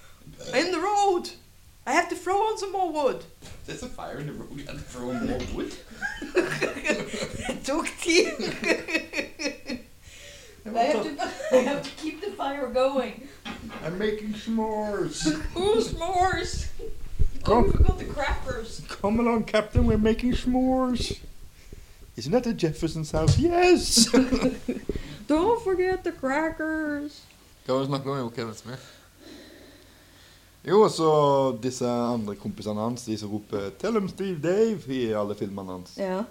Speaker 1: in the road. I have to throw on some more wood.
Speaker 2: There's a fire in the room, you have to throw more wood.
Speaker 1: It took tid. I have, to, I have to keep the fire going.
Speaker 2: sånn, I'm making s'mores.
Speaker 1: Ooh, s'mores.
Speaker 2: Kom.
Speaker 1: Oh, we forgot the crackers.
Speaker 2: Come along, Captain, we're making s'mores. Isn't that the Jefferson's house? Yes!
Speaker 1: Don't forget the crackers.
Speaker 2: Hva var det snakk om? Jo, Kevin Smith. Jo, og så disse andre kompisene hans, de som roper 'Tell him Steve Dave' i alle filmene hans.
Speaker 1: Ja.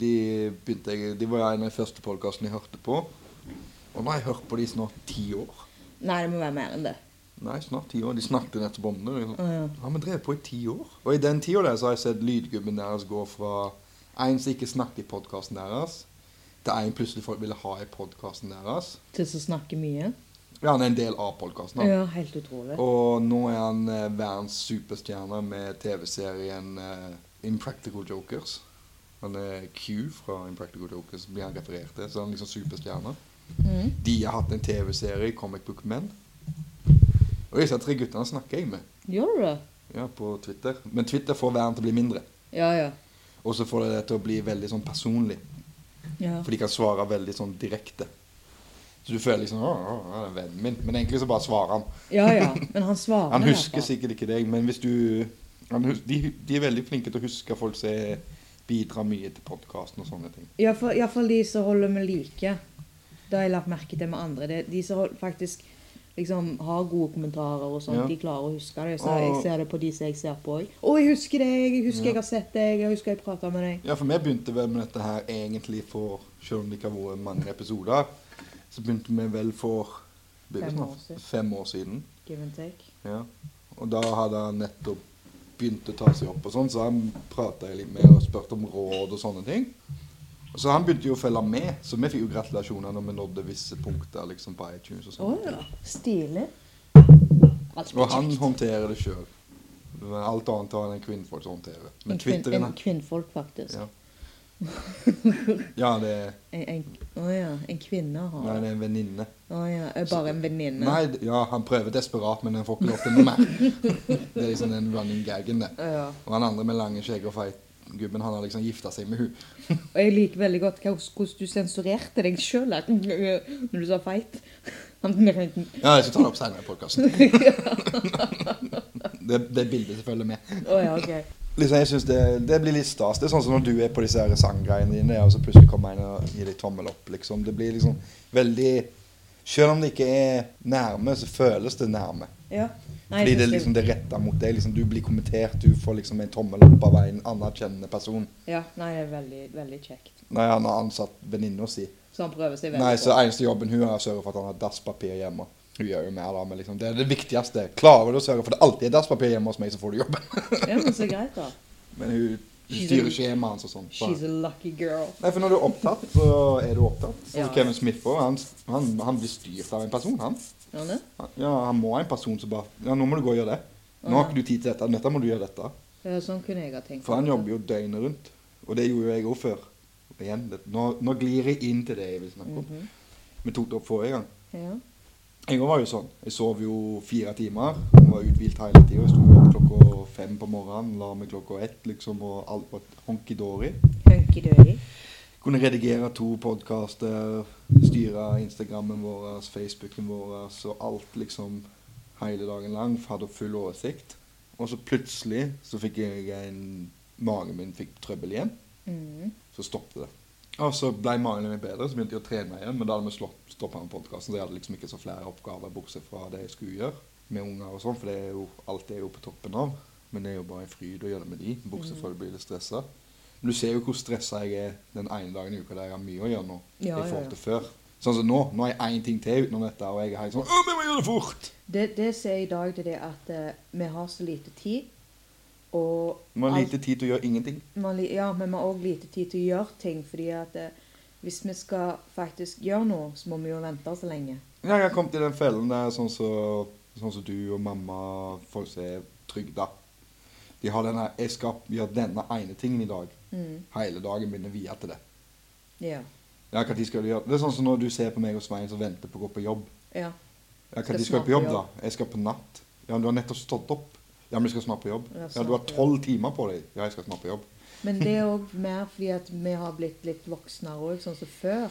Speaker 2: De, begynte jeg, de var en av de første podkastene jeg hørte på. Og nå har jeg hørt på de i snart ti år.
Speaker 1: Nei, det må være mer enn det.
Speaker 2: Nei, snart ti år. De snakket nettopp om det. Liksom.
Speaker 1: Å, ja.
Speaker 2: Har vi drevet på i ti år? Og i den tida der så har jeg sett lydgubben deres gå fra en som ikke snakket i podkasten deres, til en plutselig folk ville ha i podkasten deres.
Speaker 1: Til å snakke mye.
Speaker 2: Ja, han er en del av podkasten.
Speaker 1: Ja, helt utrolig.
Speaker 2: Og nå er han eh, verdens superstjerne med TV-serien eh, Impractical Jokers. Han er Q fra Impractical Jokers, blir han referert til. Så han er liksom superstjerne.
Speaker 1: Mm.
Speaker 2: De har hatt en TV-serie, Comic Book Men. Og disse tre guttene snakker jeg med
Speaker 1: Gjør du det?
Speaker 2: ja, på Twitter. Men Twitter får verden til å bli mindre.
Speaker 1: Ja, ja.
Speaker 2: Og så får det det til å bli veldig sånn personlig.
Speaker 1: ja.
Speaker 2: For de kan svare veldig sånn direkte. Så du føler liksom Å, å, å, det er vennen min. Men egentlig så bare svarer han.
Speaker 1: Ja, ja, men han svarer
Speaker 2: Han
Speaker 1: i hvert
Speaker 2: husker
Speaker 1: fall.
Speaker 2: sikkert ikke deg, men hvis du han, hus- de, de er veldig flinke til å huske folk som er- bidrar mye til podkasten og sånne ting.
Speaker 1: Ja, for- ja, for de som holder med like. Det har jeg lagt merke til med andre. Det, de som hold- faktisk liksom har gode kommentarer og sånt,
Speaker 2: Ja.
Speaker 1: de klarer å huske det. Så
Speaker 2: Og-
Speaker 1: jeg ser det på de som jeg ser på òg. 'Å, jeg husker deg! Jeg husker
Speaker 2: Ja.
Speaker 1: jeg har sett deg! Jeg husker jeg prata med deg!'
Speaker 2: Ja, for vi begynte vel med dette her egentlig for Selv om det ikke har vært mange episoder, så begynte vi vel for blir det
Speaker 1: Fem
Speaker 2: snart
Speaker 1: år siden.
Speaker 2: Fem år siden.
Speaker 1: Give and take.
Speaker 2: Ja. Og da hadde han nettopp begynt å ta seg opp og sånn, så han prata jeg litt med og spurte om råd og sånne ting. Og Så han begynte jo å følge med, så vi fikk jo gratulasjoner når vi nådde visse punkter liksom, på iTunes. og
Speaker 1: Å
Speaker 2: sånt.
Speaker 1: ja. Stilig. Alt
Speaker 2: Og han
Speaker 1: kjekt.
Speaker 2: håndterer det sjøl. Men alt annet har han en kvinnfolk som håndterer. Men
Speaker 1: En kvin-
Speaker 2: Twitteren
Speaker 1: En kvinnfolk, faktisk.
Speaker 2: Ja, ja det, er,
Speaker 1: En, en, å ja. En kvinne har
Speaker 2: nei, det er en venninne.
Speaker 1: Å ja. Er bare en venninne.
Speaker 2: Nei, d- ja, han prøver desperat, men han får ikke lov til noe mer. Det er liksom den running gagen, det.
Speaker 1: Ja.
Speaker 2: Og han andre med lange skjegg og feit gubben, han har liksom gifta seg med hun.
Speaker 1: Og jeg liker veldig godt hva- hvordan du sensurerte deg sjøl når du sa feit. Å
Speaker 2: Ja, jeg skal ta det opp senere i podkasten. Det, det er bildet som følger med.
Speaker 1: ja, ok.
Speaker 2: Liksom, jeg synes det, det blir litt stas. Det er sånn som når du er på disse her sanggreiene dine, og så plutselig kommer en og gir deg tommel opp. Liksom. Det blir liksom veldig Selv om det ikke er nærme, så føles det nærme.
Speaker 1: Ja. Nei,
Speaker 2: Fordi
Speaker 1: jeg
Speaker 2: det er
Speaker 1: synes
Speaker 2: liksom det retta mot deg. Liksom, du blir kommentert, du får liksom en tommel opp av en anerkjennende person.
Speaker 1: Ja, nei, det er veldig, veldig kjekt.
Speaker 2: Nei, han har ansatt venninna si.
Speaker 1: Så han prøver seg veldig
Speaker 2: Nei, så
Speaker 1: på.
Speaker 2: eneste jobben hun har, er å sørge for at han har dasspapir hjemme. Hun gjør jo mer da, men liksom, det er det viktigste. Klarer du å sørge for at det alltid er dasspapir hjemme hos meg, så får du jobben.
Speaker 1: Ja, men så greit, da.
Speaker 2: Men hun styrer skjemaet hans og sånn.
Speaker 1: She's a lucky girl.
Speaker 2: Nei, for når du er opptatt, så er du opptatt. Sånn som
Speaker 1: Ja.
Speaker 2: Kevin Smith også, han, han, han blir styrt av en person, han.
Speaker 1: Ja, ne?
Speaker 2: Han- Ja, han må ha en person som bare Ja, nå må du gå og gjøre det. Nå har ikke du tid til dette. Dette må du gjøre dette.
Speaker 1: Ja, sånn kunne jeg ha tenkt.
Speaker 2: For han jobber jo døgnet rundt. Og det gjorde jo jeg òg før. Igjen, det, nå, nå glir jeg inn til det jeg vil snakke om.
Speaker 1: Mhm.
Speaker 2: Vi tok det opp forrige gang.
Speaker 1: Ja.
Speaker 2: Jeg òg var jo sånn. Jeg sov jo fire timer. Jeg var uthvilt hele tida. Jeg sto opp klokka fem på morgenen, la meg klokka ett, liksom, og alt var honky-dory.
Speaker 1: Hunky-dory.
Speaker 2: Kunne redigere to podkaster, styre Instagrammen vår, Facebooken vår og alt liksom hele dagen lang. Hadde full oversikt. Og så plutselig så fikk jeg en Magen min fikk trøbbel igjen.
Speaker 1: Mm.
Speaker 2: Så stoppet det. Og så ble magen min bedre, så begynte jeg å trene igjen. Men da hadde vi stoppa med podkasten, så jeg hadde liksom ikke så flere oppgaver bortsett fra det jeg skulle gjøre med unger og sånn, for det er jo, alt er jo på toppen av. Men det er jo bare en fryd å gjøre det med de, bortsett
Speaker 1: Mm.
Speaker 2: fra at du blir litt stressa. Men du ser jo hvor stressa jeg er den ene dagen i uka der jeg har mye å gjøre nå.
Speaker 1: Ja,
Speaker 2: i
Speaker 1: ja,
Speaker 2: forhold
Speaker 1: ja.
Speaker 2: til før. Sånn som nå. Nå har jeg én ting til utenom dette, og jeg er helt sånn Å, vi må gjøre det fort!
Speaker 1: Det, det jeg ser i dag, det er det at eh, vi har så lite tid, og
Speaker 2: Man har
Speaker 1: alt-
Speaker 2: lite tid til å gjøre ingenting.
Speaker 1: man, li- Ja, men vi har òg lite tid til å gjøre ting, fordi at eh, hvis vi skal faktisk gjøre noe, så må vi jo vente så lenge.
Speaker 2: Ja, jeg har kommet i den fellen der, sånn som sånn som du og mamma, folk som er trygda. De har denne, jeg skal gjøre denne ene tingen i dag.
Speaker 1: Mm.
Speaker 2: Hele dagen begynner via til det.
Speaker 1: Ja.
Speaker 2: Ja, hva tid skal du gjøre? Det er sånn som når du ser på meg og Svein som venter på å gå på jobb.
Speaker 1: ja.
Speaker 2: Ja, hva
Speaker 1: Skal
Speaker 2: tid skal
Speaker 1: snart
Speaker 2: du på
Speaker 1: på
Speaker 2: jobb da? Jeg skal på natt. Ja, men du har nettopp stått opp. Ja, men du skal snart på jobb.
Speaker 1: Ja,
Speaker 2: Ja,
Speaker 1: snart
Speaker 2: du har
Speaker 1: på jobb.
Speaker 2: tolv timer på deg. Ja, jeg skal snart på jobb.
Speaker 1: Men det er òg mer fordi at vi har blitt litt voksnere òg, sånn som før.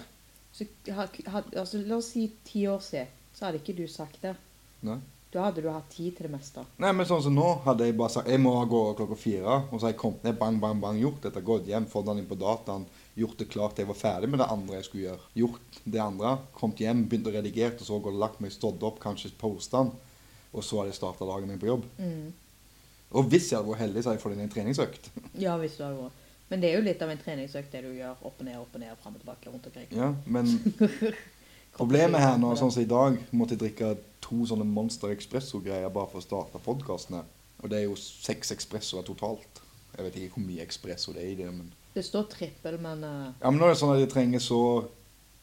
Speaker 1: Så, ha, ha, altså, la oss si ti år siden, så hadde ikke du sagt det.
Speaker 2: Nei.
Speaker 1: Da hadde du hatt tid til det meste.
Speaker 2: Nei, men sånn som nå hadde jeg bare sagt jeg må av gårde klokka fire. Og så har jeg kommet ned, bang, bang, bang, gjort dette. Gått hjem, fått den inn på dataen. Gjort det klart jeg var ferdig med det andre jeg skulle gjøre. Gjort det andre. Kommet hjem, begynt å redigere, og så gått og lagt meg, stått opp, kanskje postet den. Og så hadde jeg starta dagen min på jobb.
Speaker 1: Mm.
Speaker 2: Og hvis jeg hadde vært heldig, så hadde jeg fått inn en treningsøkt.
Speaker 1: Ja, hvis du hadde vært. Men det er jo litt av en treningsøkt, det du gjør opp og ned, opp og ned, og fram og tilbake rundt omkring.
Speaker 2: Ja, men problemet her nå, sånn som i dag, måtte jeg drikke to sånne Monster Expresso-greier bare for å starte podkastene. Og det er jo seks Expressoer totalt. Jeg vet ikke hvor mye Expresso det er i det, men
Speaker 1: Det står trippel, men eh,
Speaker 2: Ja, men nå er det sånn at jeg trenger så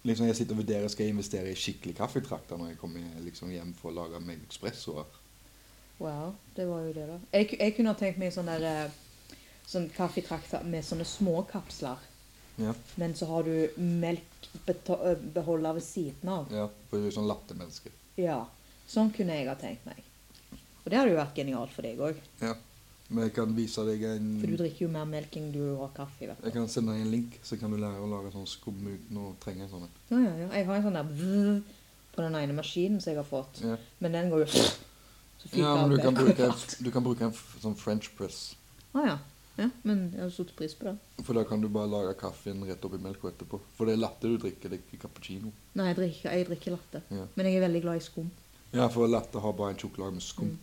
Speaker 2: liksom Jeg sitter og vurderer skal jeg investere i skikkelig kaffetrakter når jeg kommer liksom hjem for å lage meg espressoer.
Speaker 1: wow, det var jo det, da. Jeg, ku- jeg kunne ha tenkt meg sånn der eh, sånn kaffetrakter med sånne små kapsler,
Speaker 2: Ja.
Speaker 1: men så har du melkbeholder ved siden av.
Speaker 2: ja. For du er sånn lattermenneske.
Speaker 1: Ja, sånn kunne jeg ha tenkt meg. Og det hadde jo vært genialt for deg òg,
Speaker 2: Ja. Men jeg kan vise deg en
Speaker 1: for du drikker jo mer melk enn du har kaffe. vet du.
Speaker 2: Jeg kan sende deg en link, så kan du lære å lage sånn skum uten å trenge en sånn en.
Speaker 1: Ja, ja, ja. Jeg har en sånn der vzz på den ene maskinen som jeg har fått,
Speaker 2: Ja.
Speaker 1: men den går jo så fyker
Speaker 2: ja, men
Speaker 1: alt
Speaker 2: du kan
Speaker 1: det.
Speaker 2: bruke, du kan bruke en f- sånn french press.
Speaker 1: Ah, ja. ja, men jeg har satt pris på det.
Speaker 2: For da kan du bare lage kaffen rett oppi melka etterpå. For det er latte du drikker, det er ikke cappuccino.
Speaker 1: Nei, jeg drikker, jeg drikker latte,
Speaker 2: Ja.
Speaker 1: men jeg er veldig glad i skum.
Speaker 2: Ja, for latte har bare en sjokolade med
Speaker 1: Mm.
Speaker 2: skum.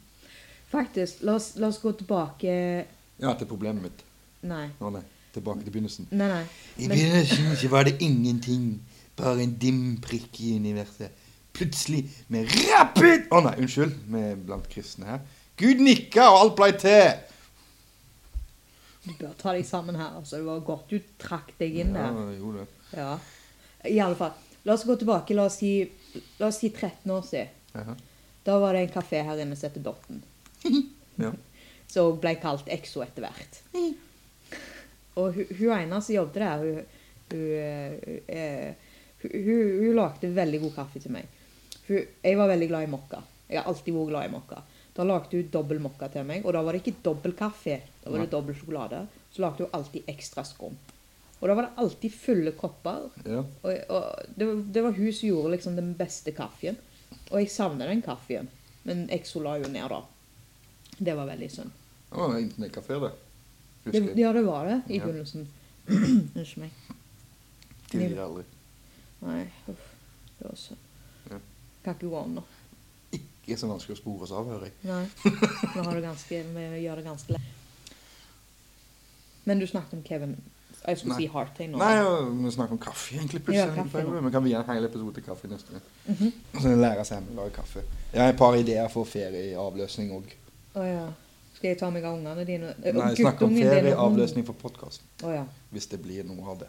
Speaker 1: Faktisk, la oss, la oss gå tilbake
Speaker 2: Ja, til problemet mitt.
Speaker 1: Nei.
Speaker 2: Å nei. Tilbake til begynnelsen.
Speaker 1: Nei, nei.
Speaker 3: I
Speaker 1: Men-
Speaker 3: begynnelsen så var det ingenting, bare en dim prikk i universet.
Speaker 2: Plutselig med rappet Å nei, unnskyld. Med blant kristne her. Gud nikka, og alt blei til.
Speaker 1: Du bør ta deg sammen her. altså. Det var godt du trakk deg inn der.
Speaker 2: Ja, jo det.
Speaker 1: Ja. I alle fall. La oss gå tilbake. La oss si, la oss si 13 år siden.
Speaker 2: Jaha.
Speaker 1: Da var det en kafé her inne som heter Dotten.
Speaker 2: Ja.
Speaker 1: Som ble kalt Exo etter hvert. Og hun, hun ene som jobbet der, hun hun, eh, eh, hun, hun, hun lagde veldig god kaffe til meg. Hun, jeg var veldig glad i mokka. Jeg har alltid vært glad i mokka. Da lagde hun dobbel mokka til meg, og da var det ikke dobbel kaffe. Da var det dobbel sjokolade. Så lagde hun alltid ekstra skum. Og da var det alltid fulle kopper.
Speaker 2: Ja.
Speaker 1: Og, og det, var- det var hun som gjorde liksom den beste kaffen. Og jeg savner den kaffen. Men Exo la jo ned, da. Det var veldig synd.
Speaker 2: Det var en internettkafé, det.
Speaker 1: Det,
Speaker 2: Husker jeg.
Speaker 1: ja, det var det i
Speaker 2: Ja.
Speaker 1: begynnelsen. Unnskyld meg.
Speaker 2: Det blir aldri.
Speaker 1: Nei, uff. Det var synd.
Speaker 2: Ja.
Speaker 1: Kan ikke gå om nå.
Speaker 2: Ikke så vanskelig å spore oss av, hører jeg.
Speaker 1: Nei. Nå har du ganske, vi gjør det ganske lett. Men du snakket om Kevin Jeg skulle
Speaker 2: Nei.
Speaker 1: si Hardtail nå.
Speaker 2: Nei, ja, vi snakker om kaffe egentlig
Speaker 1: Ja,
Speaker 2: plutselig.
Speaker 1: kaffe, Mhm. ja.
Speaker 2: vi kan vie en hel episode til kaffe neste gang. Så lære seg å lage kaffe. Jeg har et par ideer for ferieavløsning òg.
Speaker 1: Å ja. Skal jeg ta meg av ungene dine? Eh,
Speaker 2: Nei, jeg snakker om
Speaker 1: guttungen din og
Speaker 2: ferieavløsning for podkasten.
Speaker 1: hun- Å ja.
Speaker 2: Hvis det blir noe av det.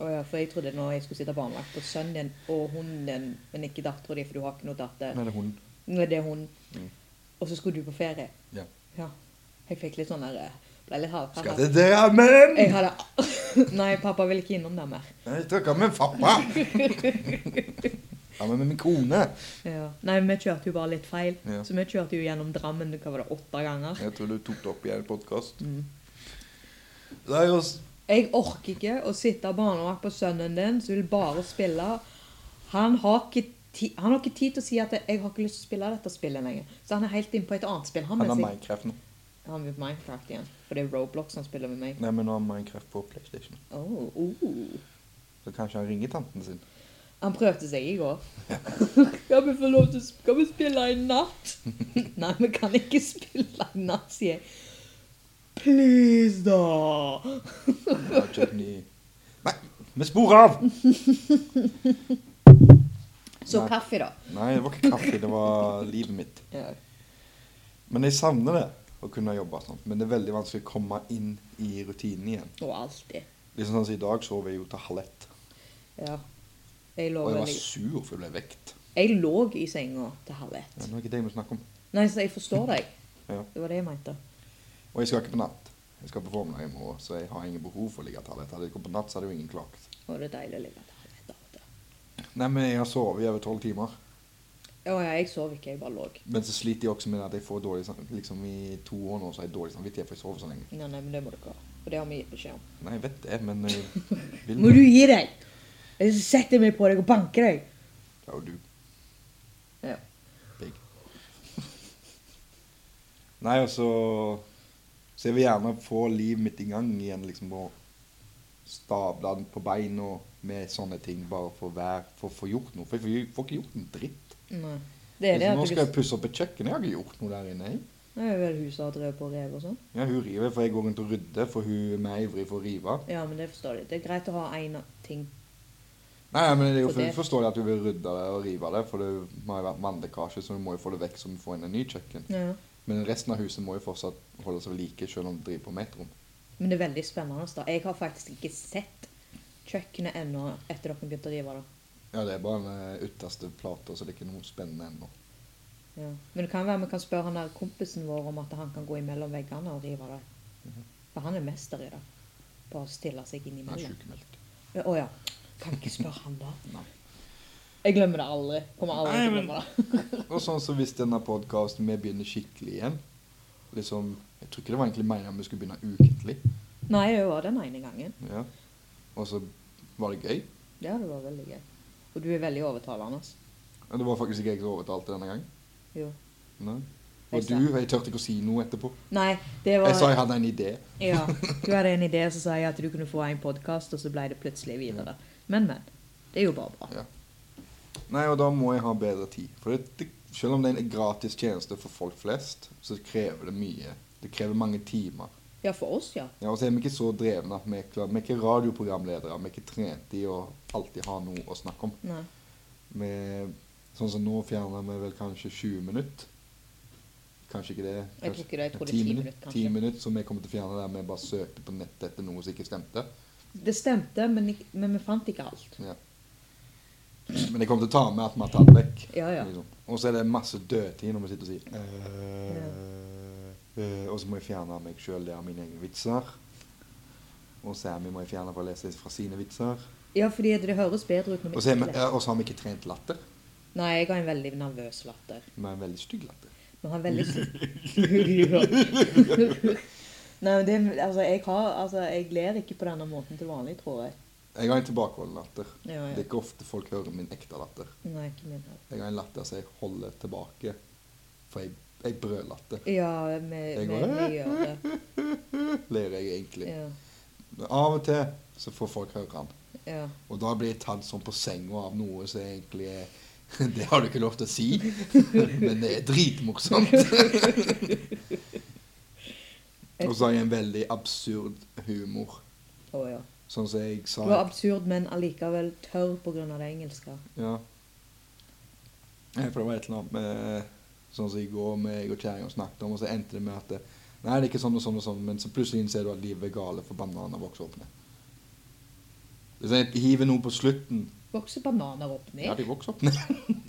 Speaker 1: Å ja, for jeg trodde nå jeg skulle sitte barnevakt på sønnen din og hunden din, men ikke dattera di, for du har ikke noe datter.
Speaker 2: Nei, det er hun.
Speaker 1: Nei, det er hun.
Speaker 2: Mm.
Speaker 1: Og så skulle du på ferie.
Speaker 2: Ja.
Speaker 1: Ja. Jeg fikk litt sånn der eh, Ble litt
Speaker 2: Skal
Speaker 1: hardere.
Speaker 2: til Drammen!
Speaker 1: Jeg hadde Nei, pappa vil ikke innom der mer.
Speaker 2: Jeg snakker med pappa! Sammen med min kone.
Speaker 1: Ja. Nei, vi kjørte jo bare litt feil.
Speaker 2: Ja.
Speaker 1: Så vi kjørte jo gjennom Drammen hva var det, åtte ganger.
Speaker 2: Jeg tror du tok det opp i en podkast.
Speaker 1: Mm.
Speaker 2: Det er jo s-
Speaker 1: Jeg orker ikke å sitte barnevakt på sønnen din som vil bare spille. Han har ikke ti- han har ikke tid til å si at 'jeg har ikke lyst til å spille dette spillet lenger'. Så han er helt inne på et annet spill. Han,
Speaker 2: Han har
Speaker 1: mens jeg-
Speaker 2: Minecraft nå.
Speaker 1: han vil Minecraft igjen. For det er Roblox han spiller med meg.
Speaker 2: Nei, men nå har han Minecraft på PlayStation.
Speaker 1: Oh, oh.
Speaker 2: Så kanskje han ringer tanten sin.
Speaker 1: Han prøvde seg i går. Kan vi få lov til å sp- kan vi spille i natt? Nei, vi kan ikke spille i natt, sier jeg. Please, da!
Speaker 2: Han har kjøpt ny Nei, vi sporer av!
Speaker 1: Så
Speaker 2: Nei.
Speaker 1: kaffe, da.
Speaker 2: Nei, det var ikke kaffe, det var livet mitt.
Speaker 1: Ja.
Speaker 2: Men jeg savner det, å kunne jobbe sånn. Men det er veldig vanskelig å komme inn i rutinen igjen.
Speaker 1: Og alltid.
Speaker 2: Liksom sånn som I dag sov jeg jo til halv ett,
Speaker 1: Ja. Jeg lå,
Speaker 2: og jeg var
Speaker 1: veldig-
Speaker 2: sur for jeg ble vekt.
Speaker 1: jeg lå i senga til halv ett.
Speaker 2: Ja, nå er det ikke det vi snakker om.
Speaker 1: Nei, så jeg forstår deg.
Speaker 2: Ja.
Speaker 1: Det var det jeg mente.
Speaker 2: Og jeg skal ikke på natt. Jeg skal på formiddag i morgen, så jeg har ingen behov for å ligge til halv ett. Hadde jeg kommet på natt, så hadde jo ingen klaget.
Speaker 1: Og det er deilig å ligge til halv ett. av og til.
Speaker 2: Nei, men jeg har sovet i over tolv timer.
Speaker 1: Å ja, jeg sov ikke, jeg bare lå.
Speaker 2: Men så sliter jeg også med at jeg får dårlig sam- Liksom i to år nå så har jeg dårlig samvittighet for jeg sover så lenge.
Speaker 1: Nei, nei, men det må du ikke ha. For det har vi gitt beskjed om.
Speaker 2: Nei, jeg vet det, men jeg vil
Speaker 1: Må du gi deg! Jeg setter meg på deg og banker deg!
Speaker 2: Ja, og du.
Speaker 1: Ja.
Speaker 2: Big. Nei, og så Så jeg vil gjerne få livet mitt i gang igjen, liksom. Og stable den på beina med sånne ting, bare for å være For å få gjort noe. For jeg får jo- får ikke gjort en dritt.
Speaker 1: Nei. Det er det
Speaker 2: Liksom,
Speaker 1: at
Speaker 2: nå
Speaker 1: du
Speaker 2: skal jeg pusse opp et kjøkken. Jeg har ikke gjort noe der inne. Jeg.
Speaker 1: Det er vel huset har drevet på og revet og sånn.
Speaker 2: Ja, hun river, for jeg går rundt og rydder, for hun er mer ivrig for å rive.
Speaker 1: Ja, men det forstår de. Det er greit å ha én ting.
Speaker 2: Nei, men det er jo
Speaker 1: For det-
Speaker 2: for, forståelig at du vil rydde det og rive det, for det må jo være vannlekkasje, så du må jo få det vekk så du får inn en ny kjøkken.
Speaker 1: Ja.
Speaker 2: Men resten av huset må jo fortsatt holde seg ved like, selv om du driver på med et rom.
Speaker 1: Men det er veldig spennende. da. Jeg har faktisk ikke sett kjøkkenet ennå etter dere begynte å rive det.
Speaker 2: Ja, det er bare den ytterste plata, så det er ikke noe spennende ennå.
Speaker 1: Ja. Men det kan være vi kan spørre han der kompisen vår om at han kan gå imellom veggene og rive det.
Speaker 2: Mhm.
Speaker 1: For han er mester i det. Bare stille seg
Speaker 2: Jeg er
Speaker 1: innimellom.
Speaker 2: sykemeldt.
Speaker 1: Ja, Å ja. Kan ikke spørre han, da.
Speaker 2: Nei.
Speaker 1: Jeg glemmer det aldri. Kommer aldri til
Speaker 2: Nei,
Speaker 1: å
Speaker 2: men-
Speaker 1: glemme det.
Speaker 2: Og sånn som hvis denne podcasten vi begynner skikkelig igjen, liksom, jeg tror ikke det var egentlig meningen vi skulle begynne ukentlig,
Speaker 1: Nei, jeg var den ene gangen.
Speaker 2: ja. Og så var det gøy.
Speaker 1: Ja, det var veldig gøy. Og du er veldig overtalende. altså.
Speaker 2: Ja, Det var faktisk ikke jeg som overtalte denne gangen.
Speaker 1: Jo.
Speaker 2: Nei.
Speaker 1: Jeg
Speaker 2: Og
Speaker 1: sa-
Speaker 2: du, jeg tørte ikke å si noe etterpå.
Speaker 1: Nei, det var
Speaker 2: Jeg sa jeg hadde en idé.
Speaker 1: Ja, du hadde en idé som sa jeg at du kunne få en podkast, og så ble det plutselig videre. Men, men. Det er jo bare bra.
Speaker 2: Ja. Nei, og da må jeg ha bedre tid. For det, det, selv om det er en gratis tjeneste for folk flest, så krever det mye. Det krever mange timer.
Speaker 1: Ja, for oss, ja.
Speaker 2: Ja, og så er vi ikke så drevne at vi er klar. Vi er ikke radioprogramledere. Vi er ikke trent i å alltid ha noe å snakke om.
Speaker 1: Nei.
Speaker 2: Vi, sånn som nå fjerner vi vel kanskje 20 minutter. Kanskje ikke
Speaker 1: Jeg
Speaker 2: det.
Speaker 1: tror
Speaker 2: kanskje-
Speaker 1: ikke det. Jeg tror det er
Speaker 2: Ti
Speaker 1: ti
Speaker 2: minut-
Speaker 1: minutter,
Speaker 2: Ti
Speaker 1: kanskje.
Speaker 2: minutter som vi kommer til å fjerne der vi bare søkte på nettet etter noe som ikke stemte.
Speaker 1: Det stemte, men, ikk- men vi fant ikke alt.
Speaker 2: Ja. Men jeg kommer til å ta med at vi har tatt vekk.
Speaker 1: Ja, ja.
Speaker 2: Liksom. Og så er det masse dødtid når vi sitter og sier eh, eh, Og så må jeg fjerne meg sjøl der mine egne vitser. Og Sammy må jeg fjerne for å lese fra sine vitser.
Speaker 1: Ja, fordi det høres bedre ut når
Speaker 2: Og
Speaker 1: vi
Speaker 2: så er
Speaker 1: ikke
Speaker 2: vi- eh,
Speaker 1: leser.
Speaker 2: og så har vi ikke trent latter.
Speaker 1: Nei, jeg har en veldig nervøs latter.
Speaker 2: Vi har en veldig stygg latter.
Speaker 1: Vi har en veldig s- Nei, men det, altså, jeg har, altså, jeg ler ikke på denne måten til vanlig, tror jeg.
Speaker 2: Jeg har en tilbakeholden latter.
Speaker 1: Ja,
Speaker 2: Det er
Speaker 1: ja.
Speaker 2: ikke ofte folk hører min ekte latter.
Speaker 1: Nei, ikke min heller.
Speaker 2: Jeg har en latter som jeg holder tilbake, for jeg, jeg brødlatter.
Speaker 1: Ja, vi, vi,
Speaker 2: Jeg
Speaker 1: vi,
Speaker 2: går,
Speaker 1: gjør det.
Speaker 2: Ler jeg egentlig.
Speaker 1: Ja,
Speaker 2: Men Av og til så får folk høre den.
Speaker 1: ja.
Speaker 2: Og da blir jeg tatt sånn på senga av noe som egentlig er Det har du ikke lov til å si, men det er dritmorsomt. Og så har jeg en veldig absurd humor.
Speaker 1: Å ja.
Speaker 2: Sånn som jeg sa
Speaker 1: Det var absurd, men allikevel tørr pga. det engelske.
Speaker 2: Ja. Nei, For det var et eller annet med Sånn som i går meg og kjerringa snakket om, og så endte det med at det, Nei, det er ikke sånn og sånn og sånn, men så plutselig innser du at livet er gale for bananer vokser opp ned. Hvis jeg sånn, hiver noe på slutten
Speaker 1: Vokser bananer opp
Speaker 2: Ja,
Speaker 1: ned?
Speaker 2: de vokser opp ned.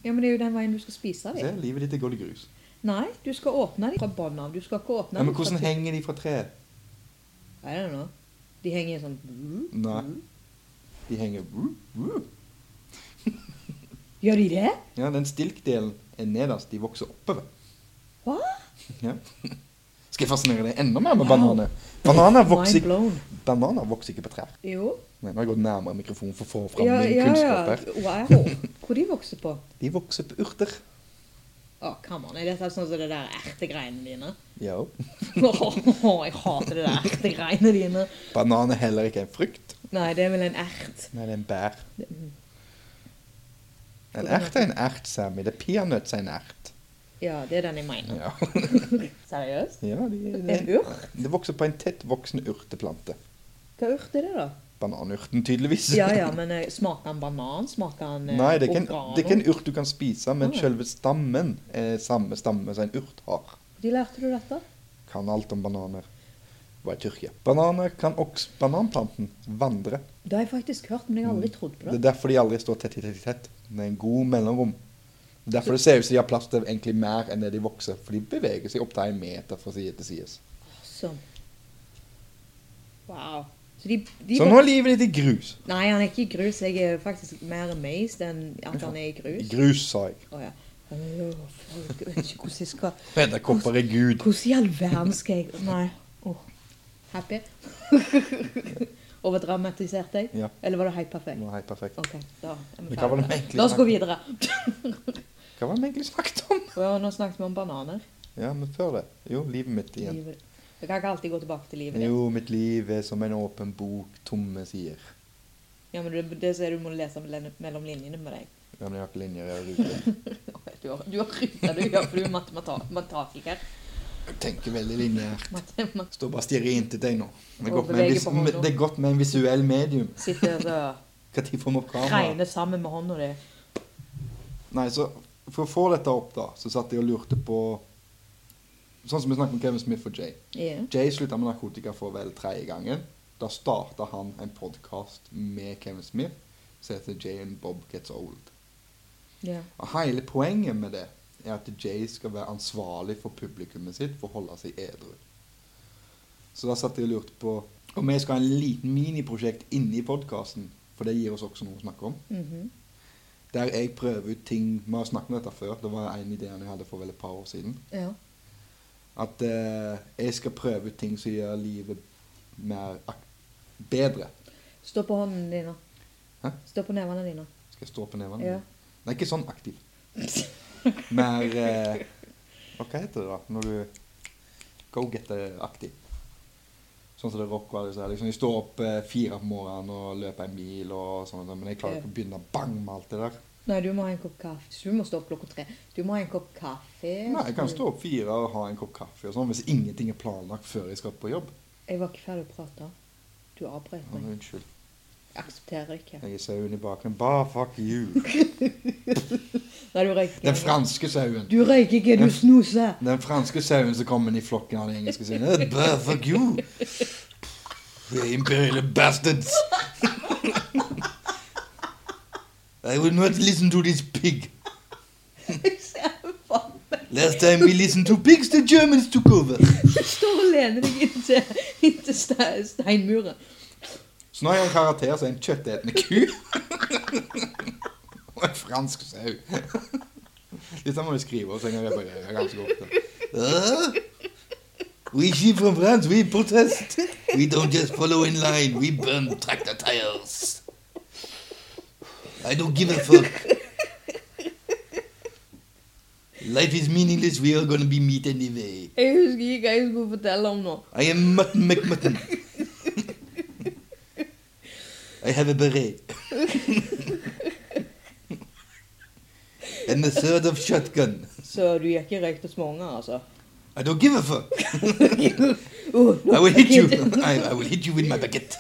Speaker 1: Ja, men det er jo den veien du skal spise
Speaker 2: Se,
Speaker 1: dem.
Speaker 2: livet ditt er gått i grus.
Speaker 1: Nei, du skal åpne dem fra bånn av. Du skal ikke åpne
Speaker 2: Ja, men
Speaker 1: dem fra
Speaker 2: hvordan
Speaker 1: to-
Speaker 2: henger de fra treet?
Speaker 1: I don't know. De henger i en sånn
Speaker 2: Nei. De henger
Speaker 1: Gjør de det?
Speaker 2: Ja, den stilkdelen er nederst. De vokser oppover.
Speaker 1: Hva?
Speaker 2: Ja. Skal jeg fascinere deg enda mer med
Speaker 1: Wow.
Speaker 2: bananer? Bananer
Speaker 1: Mind
Speaker 2: vokser, ikke-
Speaker 1: blown.
Speaker 2: bananer vokser ikke på trær.
Speaker 1: Jo.
Speaker 2: Nei, nå har jeg gått nærmere mikrofonen for å få fram
Speaker 1: Ja,
Speaker 2: min
Speaker 1: ja, ja.
Speaker 2: kunnskap her.
Speaker 1: Wow. Hvor de vokser på?
Speaker 2: De vokser på urter.
Speaker 1: Å, come on. Er dette sånn som det der ertegreiene dine?
Speaker 2: Ja.
Speaker 1: Åh, jeg hater det der ertegreiene dine.
Speaker 2: Banan er heller ikke en frukt.
Speaker 1: Nei, det er vel en ert.
Speaker 2: Nei, det er en bær.
Speaker 1: Hvordan
Speaker 2: En ert er en ert, Sammy. Det er peanøtter er en ert.
Speaker 1: Ja, det er den jeg mener.
Speaker 2: Ja,
Speaker 1: Seriøst?
Speaker 2: ja de, de,
Speaker 1: En urt?
Speaker 2: Det vokser på en tett voksende urteplante.
Speaker 1: Hva urt er det, da?
Speaker 2: Bananurten, tydeligvis.
Speaker 1: Ja, ja, men eh, smaker han banan? Smaker han eh,
Speaker 2: Nei, det er, ikke en,
Speaker 1: oregano?
Speaker 2: det er ikke en urt du kan spise, men
Speaker 1: Nei.
Speaker 2: selve stammen er samme stamme som en urt har.
Speaker 1: De lærte du dette?
Speaker 2: Kan alt om bananer. Var i Tyrkia. Bananer kan også bananplanten vandre.
Speaker 1: Det har jeg faktisk hørt, men jeg har aldri trodd på
Speaker 2: Mm. Det
Speaker 1: det.
Speaker 2: er derfor de aldri står tett i tett i tett. Det er en god mellomrom. Derfor det ser ut som de har plass til egentlig mer enn det de vokser, for de beveger seg opp til en meter fra side til side.
Speaker 1: Awesome. Wow. Så de, de
Speaker 2: Så nå er livet ditt i grus.
Speaker 1: Nei, han er ikke i grus. Jeg er faktisk mer amazed enn at han er i
Speaker 2: I
Speaker 1: grus.
Speaker 2: grus, sa jeg.
Speaker 1: Å, ja. Åh, fuck, jeg vet ikke hvordan jeg skal
Speaker 2: Edderkopper er Gud.
Speaker 1: Hvordan i all verden skal jeg Nei. Åh. Happy? Overdramatiserte jeg?
Speaker 2: Ja.
Speaker 1: Eller var det helt perfekt?
Speaker 2: Nå er helt perfekt.
Speaker 1: OK, da er vi
Speaker 2: Men hva var det vi
Speaker 1: ferdige.
Speaker 2: egentlig
Speaker 1: La oss gå
Speaker 2: snakket-
Speaker 1: videre.
Speaker 2: Hva var det vi egentlig snakket om?
Speaker 1: Ja, nå snakket vi om bananer.
Speaker 2: Ja, men før det. Jo, livet mitt igjen.
Speaker 1: Livet. Jeg kan ikke alltid gå tilbake til livet ditt.
Speaker 2: Jo, mitt liv er som en åpen bok, tomme sider.
Speaker 1: Ja, men det, det ser du må lese mellom- mellom linjene med deg.
Speaker 2: Ja, men jeg har ikke linjer jeg har ruter.
Speaker 1: Du har, du har krypta, du, ja, for du er matemata- matematiker.
Speaker 2: Jeg tenker veldig linjer.
Speaker 1: Matema-
Speaker 2: Står bare og stirrer inntil deg nå. Det er,
Speaker 1: Og
Speaker 2: godt med en
Speaker 1: beveger
Speaker 2: vis,
Speaker 1: på hånda.
Speaker 2: med- det er godt med en visuell medium.
Speaker 1: Sitter og
Speaker 2: Hva tid får vi opp kamera?
Speaker 1: regner sammen med hånda di.
Speaker 2: Nei, så for å få dette opp da, så satt jeg og lurte på Sånn som vi snakket om Kevin Smith og Jay.
Speaker 1: Ja.
Speaker 2: Jay slutta med narkotika for vel tredje gangen. Da starta han en podkast med Kevin Smith som heter Jay and Bob Gets Old.
Speaker 1: Ja.
Speaker 2: Og hele poenget med det er at Jay skal være ansvarlig for publikummet sitt for å holde seg edru. Så da satt jeg og lurte på om vi skal ha en liten miniprosjekt inni podkasten, for det gir oss også noe å snakke om.
Speaker 1: Mhm.
Speaker 2: Der jeg prøver ut ting Vi har snakket om dette før. Det var en idé jeg hadde for vel et par år siden.
Speaker 1: ja.
Speaker 2: At eh, jeg skal prøve ut ting som gjør livet mer ak bedre.
Speaker 1: Stå på hånden dine.
Speaker 2: Hæ?
Speaker 1: Stå på nevene dine.
Speaker 2: Skal jeg stå på nevene?
Speaker 1: Ja.
Speaker 2: Nei, ikke sånn aktiv. Mer eh, Hva heter det da når du go-getter-aktig? Sånn som det rockere sier. Liksom, de står opp eh, fire på morgenen og løper en mil og sånn, og sånn, men jeg klarer ikke å begynne bang med alt det der.
Speaker 1: Nei, du må ha en kopp kaffe. Du må stå opp klokka tre. Du må ha en kopp kaffe.
Speaker 2: Nei, Jeg kan stå opp fire og ha en kopp kaffe og sånn hvis ingenting er planlagt før jeg skal på jobb.
Speaker 1: Jeg var ikke ferdig å prate. Du avbrøt
Speaker 2: Ja,
Speaker 1: meg.
Speaker 2: unnskyld.
Speaker 1: aksepterer ikke.
Speaker 2: Jeg er sauen i bakgrunnen. Bah, fuck you.
Speaker 1: Nei, du røyker.
Speaker 2: Den franske sauen.
Speaker 1: Du røyker ikke, du snuser!
Speaker 2: Den franske sauen som kommer inn i flokken av de engelske sauene. Bah, fuck you. You Imperial bastards. I will not listen to this pig.
Speaker 1: Jeg ser det faen meg.
Speaker 2: Last time we listened to pigs, the Germans took over.
Speaker 1: Du står og lener deg inntil, inntil ste- steinmuren.
Speaker 2: Så nå er han karakter som en kjøttetende ku. Og en fransk sau. Dette må vi skrive oss en gang. jeg bare gjør ganske ofte. Uh, we sheep from France, we protest. We don't just follow in line, we burn tractor tires. I don't give a fuck. Life is meaningless, we are gonna be meat anyway.
Speaker 1: Jeg husker ikke hva jeg skulle fortelle om nå.
Speaker 2: I am Mutton McMutton. I have a beret. and a third of shotgun.
Speaker 1: Så du gikk ikke røykt hos mange, altså?
Speaker 2: I don't give a fuck.
Speaker 1: Oh,
Speaker 2: I will hit you. I, I will hit you with my baguette.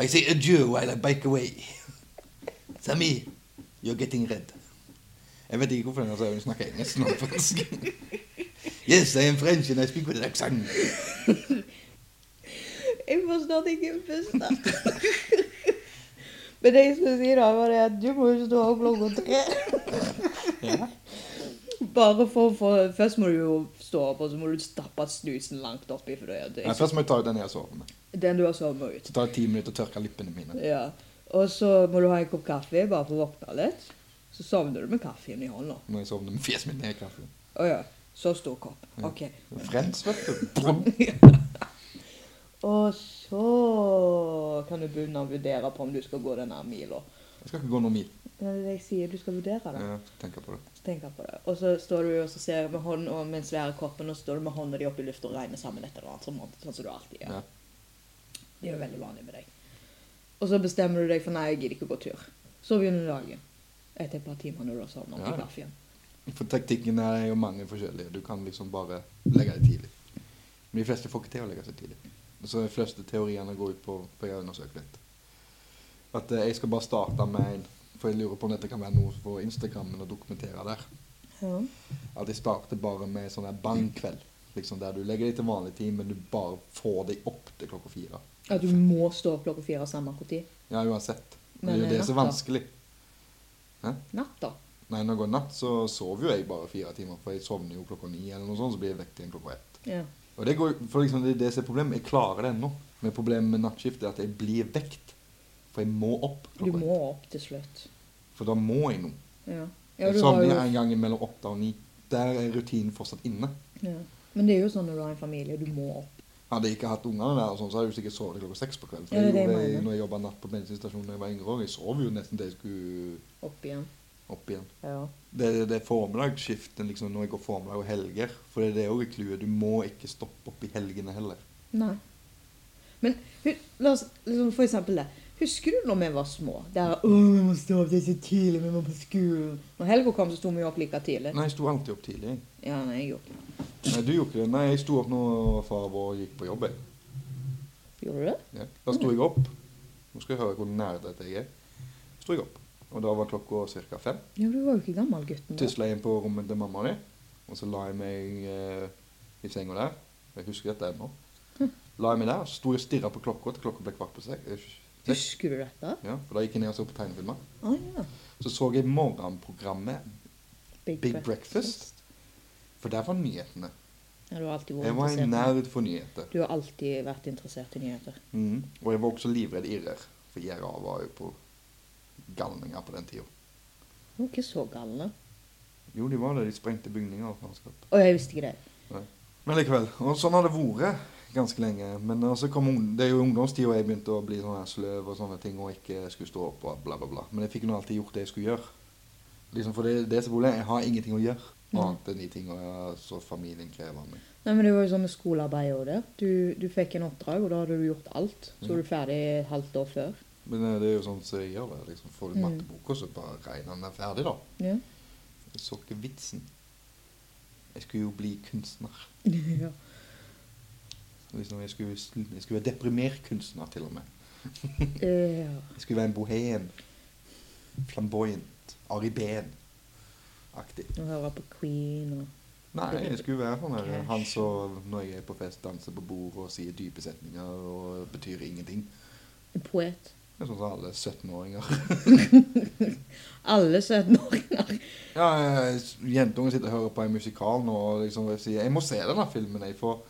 Speaker 2: I say adieu while I bike away. Sammy, you're getting red. Jeg vet ikke hvorfor denne sauen snakker engelsk og fransk. Yes, I am French and I speak with an accent.
Speaker 1: Jeg forstod ikke først da. Men det jeg skulle si da, var det at du må jo stå opp klokka tre.
Speaker 2: Ja.
Speaker 1: Bare for, for Først må du jo stå opp, og så må du stappe snusen langt oppi. For det, er- det,
Speaker 2: Nei, først må jeg ta ut den jeg har sovet med.
Speaker 1: den du har sovet med ut.
Speaker 2: Så tar det ti minutter å tørke lippene mine.
Speaker 1: Ja. Og så må du ha en kopp kaffe bare for å våkne litt. Så sovner du med kaffen i hånda.
Speaker 2: Når jeg sovner med fjeset mitt ned i kaffen.
Speaker 1: Å ja. Så stor kopp. OK.
Speaker 2: Frens, vet du. Brum.
Speaker 1: Og så kan du begynne å vurdere på om du skal gå denne mila.
Speaker 2: Jeg skal ikke gå noen mil.
Speaker 1: Det er det jeg sier, du skal vurdere det.
Speaker 2: Jeg tenker på det.
Speaker 1: Så tenker jeg på det. Og så står du og så ser jeg med hånden og med den svære koppen, og så står du med hånda di opp i lufta og regner sammen etter hverandre, sånn, sånn som du alltid gjør.
Speaker 2: Ja.
Speaker 1: Det er jo veldig vanlig med deg. Og så bestemmer du deg for nei, jeg gidder ikke å gå tur. Så begynner dagen. Etter et par timer når du har sovnet
Speaker 2: Ja.
Speaker 1: på kaffen.
Speaker 2: For taktikken er jo mange forskjellige. Du kan liksom bare legge deg tidlig. Men de fleste får ikke til å legge seg tidlig. Så de fleste teoriene går ut på, for jeg har undersøkt litt, at eh, jeg skal bare starte med en For jeg lurer på om dette kan være noe for Instagrammen å dokumentere der.
Speaker 1: Ja.
Speaker 2: At jeg starter bare med sånn her bangkveld. Liksom der du legger deg til vanlig tid, men du bare får deg opp til klokka fire.
Speaker 1: At du må stå opp klokka fire samme hvor tid.
Speaker 2: Ja, uansett. Men
Speaker 1: Men
Speaker 2: det er jo det som er
Speaker 1: natta?
Speaker 2: vanskelig.
Speaker 1: Natt, da.
Speaker 2: Nei, når det går natt, så sover jo jeg bare fire timer, for jeg sovner jo klokka ni, eller noe sånt, så blir jeg vekket igjen klokka ett.
Speaker 1: Ja.
Speaker 2: Og det går, jo- for liksom, det er det som er problemet. Jeg klarer det ennå. Men problemet med nattskift er at jeg blir vekt. For jeg må opp
Speaker 1: Du
Speaker 2: klokka
Speaker 1: må
Speaker 2: ett.
Speaker 1: opp til slutt.
Speaker 2: For da må jeg noe.
Speaker 1: Ja. ja,
Speaker 2: Jeg
Speaker 1: du har
Speaker 2: sovner
Speaker 1: jo,
Speaker 2: en gang mellom åtte og ni. Der er rutinen fortsatt inne.
Speaker 1: ja. Men det er jo sånn når du har en familie, du må opp.
Speaker 2: Hadde jeg ikke hatt ungene der, og sånn, så hadde jeg jo sikkert sovet til klokka seks på kvelden. For
Speaker 1: Ja,
Speaker 2: jeg
Speaker 1: det er det
Speaker 2: gjorde
Speaker 1: jeg
Speaker 2: det
Speaker 1: mener.
Speaker 2: når jeg jobbet natt på bensinstasjonen da jeg var yngre år. Jeg sov jo nesten til jeg skulle
Speaker 1: Opp igjen.
Speaker 2: opp igjen.
Speaker 1: Ja.
Speaker 2: Det, det, det er formiddagsskiften liksom, når jeg går formiddag og helger. For det er det òg er clouet. Du må ikke stoppe opp i helgene heller.
Speaker 1: Nei. Men hu- la oss liksom, for eksempel det. Husker du når vi var små? Der, Åh, vi må stå opp, det er så tidlig, vi må på skolen. Når helga kom, så sto vi opp like tidlig.
Speaker 2: Nei, jeg sto alltid opp tidlig. jeg.
Speaker 1: Ja, nei, jeg gjorde ikke det.
Speaker 2: Nei, du gjorde ikke det. Nei, jeg sto opp når far vår gikk på jobb. jeg.
Speaker 1: Gjorde du det?
Speaker 2: Ja. Da sto jeg opp. Nå skal jeg høre hvor nær dette jeg er. Sto jeg opp. Og da var klokka ca. fem.
Speaker 1: Ja, du var jo ikke gammel gutten da.
Speaker 2: Tusla jeg inn på rommet til mamma og de. Og så la jeg meg eh, i senga der. Jeg husker dette ennå. La jeg meg der, så sto jeg og stirra på klokka til klokka ble kvart på sek- eh, seks.
Speaker 1: Husker du dette?
Speaker 2: Ja, for da gikk jeg ned og så på tegnefilmer.
Speaker 1: Å ja.
Speaker 2: Så så jeg morgenprogrammet
Speaker 1: Big,
Speaker 2: Big Breakfast. For der var nyhetene.
Speaker 1: Ja, du har alltid vært
Speaker 2: Jeg var en
Speaker 1: interessert.
Speaker 2: nerd for nyheter.
Speaker 1: Du har alltid vært interessert i nyheter.
Speaker 2: Mhm. Og jeg var også livredd irrer, for IRA var jo på galninger på den tida.
Speaker 1: Du var ikke så galne.
Speaker 2: Jo, de var det. De sprengte bygninger og faenskap.
Speaker 1: Å, jeg visste ikke det.
Speaker 2: Men likevel. Og sånn har det vært ganske lenge. Men eh, så kom ung- det er jo ungdomstida jeg begynte å bli sånn her sløv og sånne ting og ikke skulle stå opp og bla, bla, bla. Men jeg fikk nå alltid gjort det jeg skulle gjøre. Liksom For det, det som er problemet, jeg har ingenting å gjøre
Speaker 1: Mhm.
Speaker 2: annet enn de tingene som familien krever av meg.
Speaker 1: Nei, men Det var jo sånn med skolearbeid òg der. Du, du fikk en oppdrag, og da hadde du gjort alt. Så var du ferdig et halvt år før.
Speaker 2: Men eh, det er jo sånn som jeg gjør det. liksom Får du
Speaker 1: Mm.
Speaker 2: matteboka, så bare regner den er ferdig, da.
Speaker 1: Ja.
Speaker 2: Jeg så ikke vitsen. Jeg skulle jo bli kunstner.
Speaker 1: ja.
Speaker 2: Liksom, jeg, skulle, sl- jeg skulle være deprimert kunstner, til og med.
Speaker 1: Eh,
Speaker 2: Jeg skulle være en bohem. Flamboyant. Ari Behn-aktig.
Speaker 1: Å høre på Queen og
Speaker 2: Nei, jeg skulle være sånn her,
Speaker 1: Cash.
Speaker 2: han som når jeg er på fest, danser på bordet og sier dype setninger og betyr ingenting.
Speaker 1: en poet.
Speaker 2: Det er sånn som alle 17-åringer.
Speaker 1: Alle 17-åringer.
Speaker 2: Ja, eh, Jentungen sitter og hører på en musikal nå og liksom sier 'Jeg må se denne filmen', jeg, for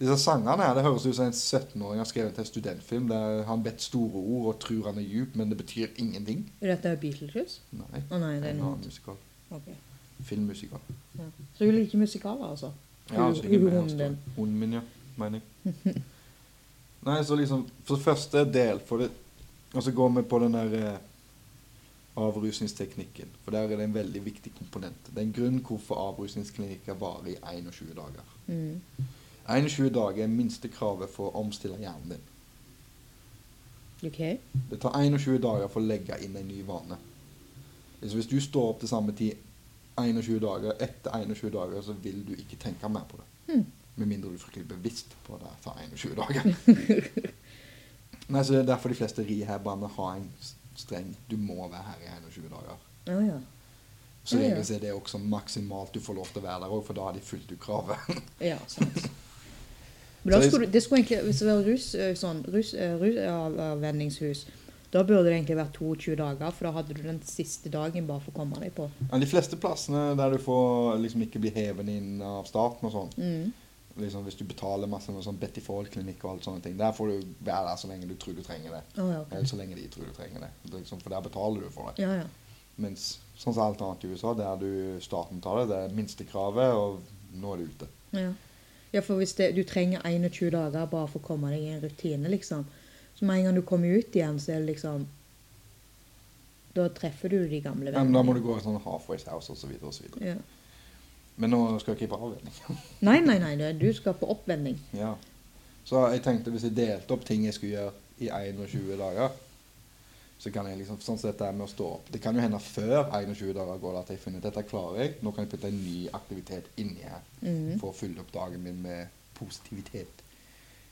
Speaker 2: disse sangene her, det høres ut som en 17-åring har skrevet til en studentfilm der han bedt store ord og tror han er djup, men det betyr ingenting.
Speaker 1: Er dette Beatles?
Speaker 2: Nei.
Speaker 1: Å nei,
Speaker 2: Det er en
Speaker 1: noe
Speaker 2: annen musikal.
Speaker 1: Ok.
Speaker 2: Filmmusikal.
Speaker 1: Ja. Så hun liker musikaler, altså?
Speaker 2: Ja,
Speaker 1: Hun-
Speaker 2: altså, ingen
Speaker 1: hun
Speaker 2: mer,
Speaker 1: hunden din.
Speaker 2: altså. Hunden min, ja. Mener jeg. Nei, så liksom For det første del for det, Og så går vi på den der eh, avrusningsteknikken. For der er det en veldig viktig komponent. Det er en grunn hvorfor avrusningsklinikker varer i 21 dager.
Speaker 1: Mm.
Speaker 2: 21 dager er minstekravet for å omstille hjernen din.
Speaker 1: OK.
Speaker 2: Det tar 21 dager for å legge inn en ny vane. Så hvis du står opp til samme tid 21 dager, etter 21 dager, så vil du ikke tenke mer på det.
Speaker 1: Hmm.
Speaker 2: Med mindre du er fryktelig bevisst på det etter 21 dager. Nei, så Det er derfor de fleste rehabene har en s- streng Du må være her i 21 dager.
Speaker 1: Å ja.
Speaker 2: Så
Speaker 1: Ja, ja.
Speaker 2: egentlig så er det også maksimalt du får lov til å være der òg, for da har de fulgt ut kravet.
Speaker 1: Ja, sant. Men da
Speaker 2: Så jeg-
Speaker 1: skulle, du- det skulle egentlig, Hvis det var rus, eh, sånn, rus, eh, rus, eh, avvenningshus, da burde det egentlig vært 22 dager, for da hadde du den siste dagen bare for å komme deg på.
Speaker 2: Men de fleste plassene der du får liksom ikke bli hevet inn av staten og sånn,
Speaker 1: Mm.
Speaker 2: liksom, hvis du betaler masse med sånn Betty Ford-klinikk og alt sånne ting, der får du være der så lenge du tror du trenger det.
Speaker 1: Å ja, ok.
Speaker 2: Eller så lenge de tror du trenger det. det er liksom, for der betaler du for det.
Speaker 1: Ja, ja.
Speaker 2: Mens sånn som alt annet i USA, der du staten tar det, det er minstekravet, og nå er du ute.
Speaker 1: Ja, ja for hvis det, du trenger 21 dager bare for å komme deg i en rutine, liksom. Så med en gang du kommer ut igjen, så er det liksom Da treffer du de gamle
Speaker 2: Ja, men da må du gå i sånn halfway house og så videre og så videre.
Speaker 1: Ja.
Speaker 2: Men nå skal jeg ikke på avvenning.
Speaker 1: Nei, nei, nei, det er- du skal på oppvending.
Speaker 2: Ja. Så jeg tenkte hvis jeg delte opp ting jeg skulle gjøre i 21 dager, så kan jeg liksom sånn sett det her med å stå opp. Det kan jo hende før 21 dager går det at jeg finner ut dette klarer jeg. Nå kan jeg putte en ny aktivitet inni her.
Speaker 1: Mhm.
Speaker 2: for å fylle opp dagen min med positivitet.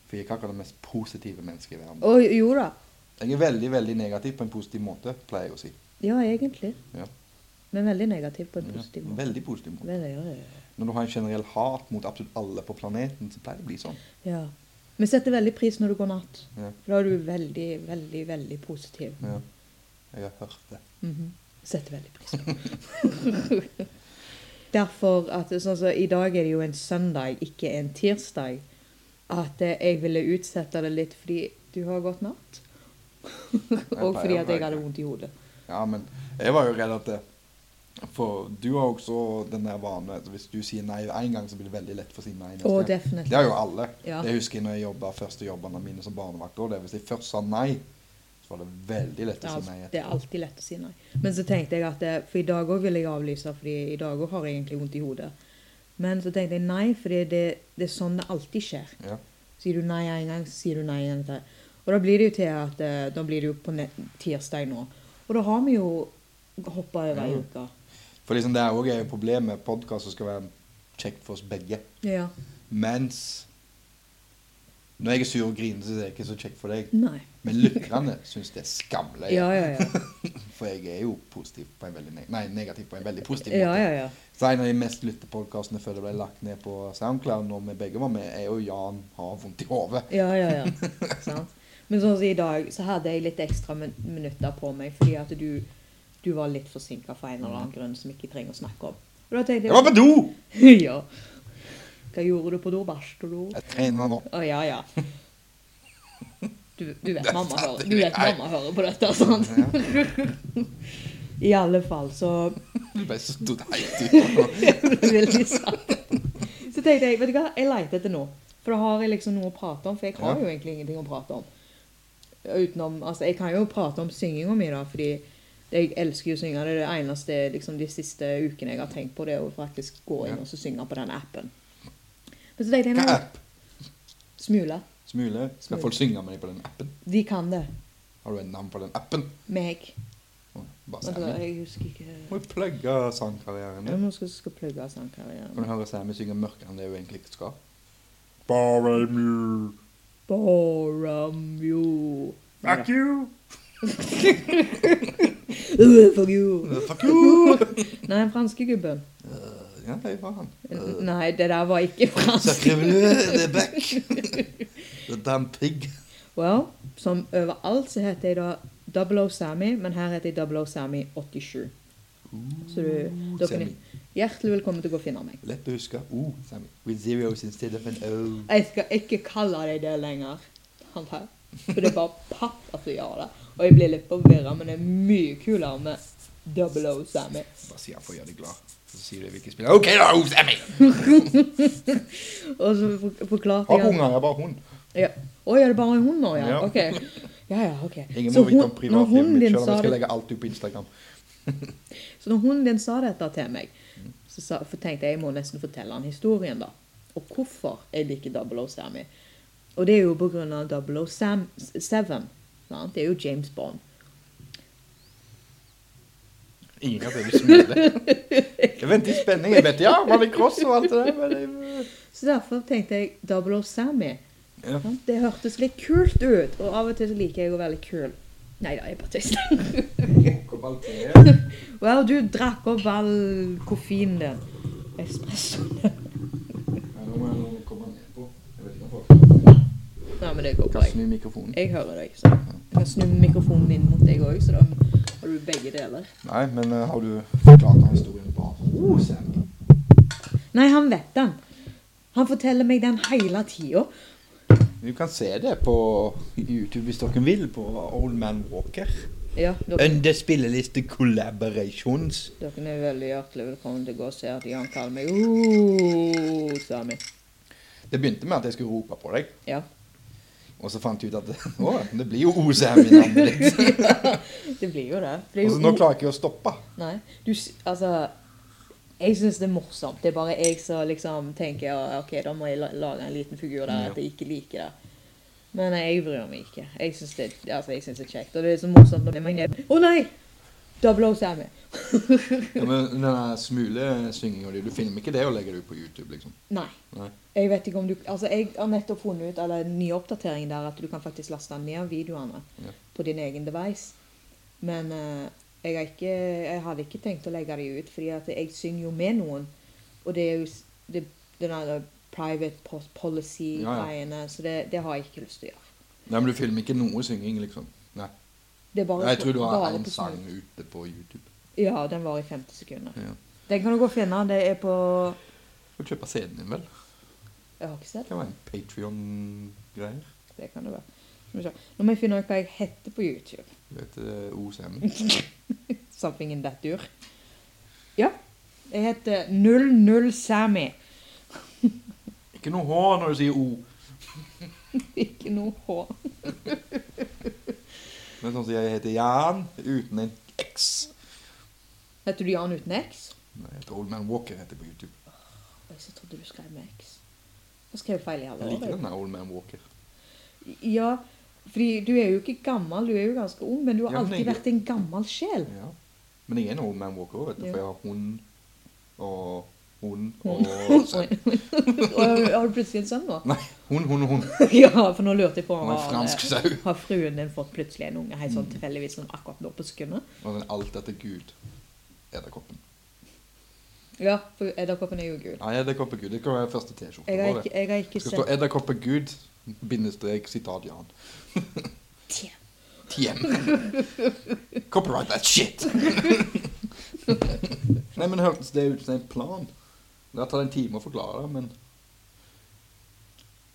Speaker 2: For jeg er ikke akkurat det mest positive mennesket i verden.
Speaker 1: Å, jo da.
Speaker 2: Jeg er veldig veldig negativ på en positiv måte, pleier jeg å si.
Speaker 1: Ja, egentlig.
Speaker 2: Ja.
Speaker 1: Men veldig negativ på en
Speaker 2: Ja,
Speaker 1: positiv
Speaker 2: en
Speaker 1: måte.
Speaker 2: Mhm. Veldig positiv måte.
Speaker 1: Veldig, ja, ja,
Speaker 2: Når du har en generell hat mot absolutt alle på planeten, så pleier det å bli sånn.
Speaker 1: ja. ja. Vi setter veldig pris når du går natt.
Speaker 2: Ja.
Speaker 1: For da er du veldig, veldig, veldig positiv.
Speaker 2: Ja. Jeg har hørt det.
Speaker 1: Mhm. Setter veldig pris på. Derfor at sånn som I dag er det jo en søndag, ikke en tirsdag. At eh, jeg ville utsette det litt fordi du har gått natt. og fordi at jeg hadde vondt i hodet.
Speaker 2: Ja, men jeg var jo redd at det For du har også den der vanen at hvis du sier nei én gang, så blir det veldig lett for å si nei neste
Speaker 1: Å,
Speaker 2: gang. Det
Speaker 1: definitivt.
Speaker 2: har jo alle.
Speaker 1: Ja.
Speaker 2: Det husker jeg når jeg jobba første jobbene mine som barnevakt. Og det, hvis jeg først sa nei, så var det veldig lett
Speaker 1: Det
Speaker 2: å
Speaker 1: er,
Speaker 2: si nei.
Speaker 1: al-
Speaker 2: etterpå.
Speaker 1: det er alltid lett å si nei. Men så tenkte jeg at eh, For i dag òg ville jeg avlyse, fordi i dag òg har jeg egentlig vondt i hodet. Men så tenkte jeg nei, fordi det, det er sånn det alltid skjer.
Speaker 2: Ja.
Speaker 1: Sier du nei en gang, så sier du nei en gang til. Og da blir det jo til at eh, Da blir det jo på net tirsdag nå. Og da har vi jo hoppa over ei
Speaker 2: Ja.
Speaker 1: uke.
Speaker 2: For liksom det er også et problem med podkast som skal være kjekt for oss begge.
Speaker 1: Ja.
Speaker 2: Mens når jeg er sur og griner, så er det ikke så kjekt for deg.
Speaker 1: Nei.
Speaker 2: Men lytterne syns det er skamløye.
Speaker 1: Ja, ja, ja.
Speaker 2: For jeg er jo positiv på en veldig neg nei, negativ på en veldig positiv måte.
Speaker 1: ja, ja, ja.
Speaker 2: Så en av de mest lyttepodkastene før det ble lagt ned på SoundCloud, når vi begge var med, er jo 'Jan har vondt i hodet'.
Speaker 1: Ja, ja, ja. Sant. Men sånn som i dag, så hadde jeg litt ekstra min minutter på meg fordi at du, du var litt forsinka for en eller annen grunn som jeg ikke trenger å snakke om. Og da tenkte
Speaker 2: Jeg var
Speaker 1: jeg
Speaker 2: på do!
Speaker 1: Ja. Hva gjorde du på do? Bæsjet du?
Speaker 2: Jeg trener nå.
Speaker 1: Å ja, ja. Du, du, vet
Speaker 2: Det
Speaker 1: mamma
Speaker 2: satte
Speaker 1: hører,
Speaker 2: jeg
Speaker 1: du vet
Speaker 2: meg.
Speaker 1: mamma hører på dette, sant? I alle fall, så
Speaker 2: Du ble så stort heit ut.
Speaker 1: Veldig sant. Så tenkte jeg, vet du hva, jeg leter etter noe. For da har jeg liksom noe å prate om, for jeg har
Speaker 2: Ja.
Speaker 1: jo egentlig ingenting å prate om. Utenom, altså, jeg kan jo prate om synginga mi, da, fordi jeg elsker jo å synge. Det er det eneste liksom, de siste ukene jeg har tenkt på, det er å faktisk gå
Speaker 2: Ja.
Speaker 1: inn og så synge på den appen. Men så tenkte jeg,
Speaker 2: Hva
Speaker 1: nei,
Speaker 2: app?
Speaker 1: smule.
Speaker 2: Smule? Skal folk synge med deg på den appen?
Speaker 1: De kan det.
Speaker 2: Har du et navn på den appen?
Speaker 1: Meg.
Speaker 2: Å, Bare
Speaker 1: Altså,
Speaker 2: Sammy.
Speaker 1: jeg husker ikke
Speaker 2: Må jo plugge sangkarrieren
Speaker 1: Jeg
Speaker 2: din.
Speaker 1: må skal, skal plugge
Speaker 2: Kan
Speaker 1: sangkarrieren.
Speaker 2: du høre Sammy synge mørkere enn det hun egentlig ikke skal? Bare mur.
Speaker 1: Boramjo.
Speaker 2: Fuck you!
Speaker 1: Øh, Fuck you!
Speaker 2: Fuck you! Eh,
Speaker 1: Nei, den franske gubben.
Speaker 2: Ja, hei, faen.
Speaker 1: N- Nei, det der var ikke fransk.
Speaker 2: Sakriveløde back! The damn pig.
Speaker 1: Well, som overalt så heter jeg da Double O Sammy, men her heter jeg Double O Sammy 87. Så du, da kan
Speaker 2: Mm, Sammy.
Speaker 1: jeg hjertelig velkommen til å gå og finne meg.
Speaker 2: Lett å huske. O, Sammy. With zeros instead of an O.
Speaker 1: Jeg skal ikke kalle deg det lenger. Han her. For det er bare papp at du gjør det. Og jeg blir litt forvirra, men det er mye kulere med Double O Sammy.
Speaker 2: Bare si han får gjøre deg glad. Så sier du hvilken spiller. OK, da, O, Sammy!
Speaker 1: Og så for- forklarte
Speaker 4: Har
Speaker 1: jeg
Speaker 4: unger, jeg er bare hund.
Speaker 1: Ja. Å, ja, det er bare en hund nå, ja?
Speaker 4: Ja.
Speaker 1: Ok. Ja, ja, ok.
Speaker 2: Ingen
Speaker 1: Så
Speaker 2: må vite
Speaker 1: hun-
Speaker 2: om
Speaker 1: når
Speaker 2: privatlivet
Speaker 1: hunden
Speaker 2: mitt,
Speaker 1: din
Speaker 2: selv om
Speaker 1: sa
Speaker 2: jeg skal
Speaker 1: det-
Speaker 2: legge alt ut på Instagram.
Speaker 1: Så når hunden din sa dette til meg, så sa, for tenkte jeg jeg må nesten fortelle han historien, da. Og hvorfor jeg liker Double O Sammy. Og det er jo på grunn av Double O Sam Seven. Sant? Det er jo James Bond.
Speaker 2: Ingen kan bli smile. Jeg venter i spenning. Jeg vet ja, man er cross og alt det der. Men jeg...
Speaker 1: Så derfor tenkte jeg Double O Sammy.
Speaker 2: Ja.
Speaker 1: Sant? Det hørtes litt kult ut, og av og til så liker jeg å være litt kul. Nei da, jeg bare tøyser. Well, du drakk opp all koffeinen din. Espressoen din. Nei, men det går bra.
Speaker 2: Kast
Speaker 1: jeg-
Speaker 2: den i mikrofonen.
Speaker 1: Jeg hører deg. Så jeg kan snu mikrofonen din mot deg òg, så da har du begge deler.
Speaker 2: Nei, men eh, har du forklart han historien bare O, Sammy?
Speaker 1: Nei, han vet den. Han forteller meg den hele tida.
Speaker 2: Du kan se det på YouTube hvis dere vil, på Old Man Walker.
Speaker 1: Ja, dere,
Speaker 2: Under spilleliste collaborations.
Speaker 1: dere er veldig hjertelig velkommen til å gå og se at han kaller meg «Åh, Sami.
Speaker 2: Det begynte med at jeg skulle rope på deg,
Speaker 1: Ja.
Speaker 2: og så fant jeg ut at å, det blir jo O, Sammy navnet ditt.
Speaker 1: Det blir jo det. For det er
Speaker 2: Og så Altså, nå
Speaker 1: jo
Speaker 2: klarer jeg ikke å stoppe.
Speaker 1: Nei. Du, s- altså Jeg syns det er morsomt. Det er bare jeg som liksom tenker ja, OK, da må jeg la- lage en liten figur der at jeg ikke liker det. Men jeg bryr meg ikke. Jeg syns det, altså, jeg synes det er kjekt. Og det er så morsomt når det er mange Å nei! Double O Sammy.
Speaker 2: Ja, men den der smulesyngingen din, du filmer ikke det og legger det ut på YouTube, liksom?
Speaker 1: Nei.
Speaker 2: Nei.
Speaker 1: Jeg vet ikke om du Altså, jeg har nettopp funnet ut eller en ny oppdatering der at du kan faktisk laste ned videoene
Speaker 2: Ja.
Speaker 1: på din egen device. Men eh, jeg, har ikke, jeg hadde ikke tenkt å legge det ut, fordi at jeg synger jo med noen. Og det er jo s- det, den der private po- policy-greiene, så det, det har jeg ikke lyst til å gjøre.
Speaker 2: Nei, men du filmer ikke noe synging, liksom? Nei.
Speaker 1: Det er bare
Speaker 2: Jeg tror du har
Speaker 1: bare
Speaker 2: én
Speaker 1: på
Speaker 2: sang
Speaker 1: snu-
Speaker 2: ute på YouTube.
Speaker 1: Ja, den var i 50 sekunder.
Speaker 2: Ja.
Speaker 1: Den kan du gå og finne. Det er på
Speaker 2: Du får kjøpe CD-en din, vel?
Speaker 1: Jeg har ikke sett
Speaker 2: Det kan være en Patrion-greier.
Speaker 1: det. kan det være. Skal vi se. Nå må jeg finne ut hva jeg heter på YouTube.
Speaker 2: Du vet eh, OCM.
Speaker 1: Something in that dur. Ja. Jeg heter 00 Sammy.
Speaker 2: Ikke noe H når du sier O.
Speaker 1: Ikke noe H.
Speaker 2: Men sånn som jeg heter Jan uten en X.
Speaker 1: Heter du Jan uten X?
Speaker 2: Nei, jeg heter Old Man Walker heter jeg på YouTube.
Speaker 1: Oi, så trodde du skrev med X. Jeg skrev feil i alle
Speaker 2: Jeg liker
Speaker 1: år.
Speaker 2: den der Old Man Walker.
Speaker 1: jeg. Ja, fordi du er jo ikke gammel, du er jo ganske ung, men du har
Speaker 2: Ja, men
Speaker 1: alltid
Speaker 2: jeg-
Speaker 1: vært en gammel sjel.
Speaker 2: Ja. Men jeg er en Old Man Walker òg, vet du.
Speaker 1: Ja.
Speaker 2: For jeg har hund og hund
Speaker 1: Og
Speaker 2: og sønn.
Speaker 1: har har du plutselig en sønn nå?
Speaker 2: Nei, hund, hund, hund.
Speaker 1: Ja, for nå lurte jeg på om
Speaker 2: Og en fransk Mm. sau.
Speaker 1: har fruen din fått plutselig en unge helt sånn tilfeldigvis sånn akkurat nå på sekundet?
Speaker 2: Og den alt etter Gud. Edderkoppen.
Speaker 1: Ja, for edderkoppen er jo gul.
Speaker 2: Nei, edderkoppegud. Det kan være første T-skjorte.
Speaker 1: Jeg har
Speaker 2: bare.
Speaker 1: ikke, jeg har ikke
Speaker 2: Det skal stå
Speaker 1: sett
Speaker 2: 'Edderkoppegud', bindestrek, sitat Jan.
Speaker 1: Tja.
Speaker 2: TM. Copyright that shit! Nei, men hørtes det ut som en plan? Det tar en time å forklare, men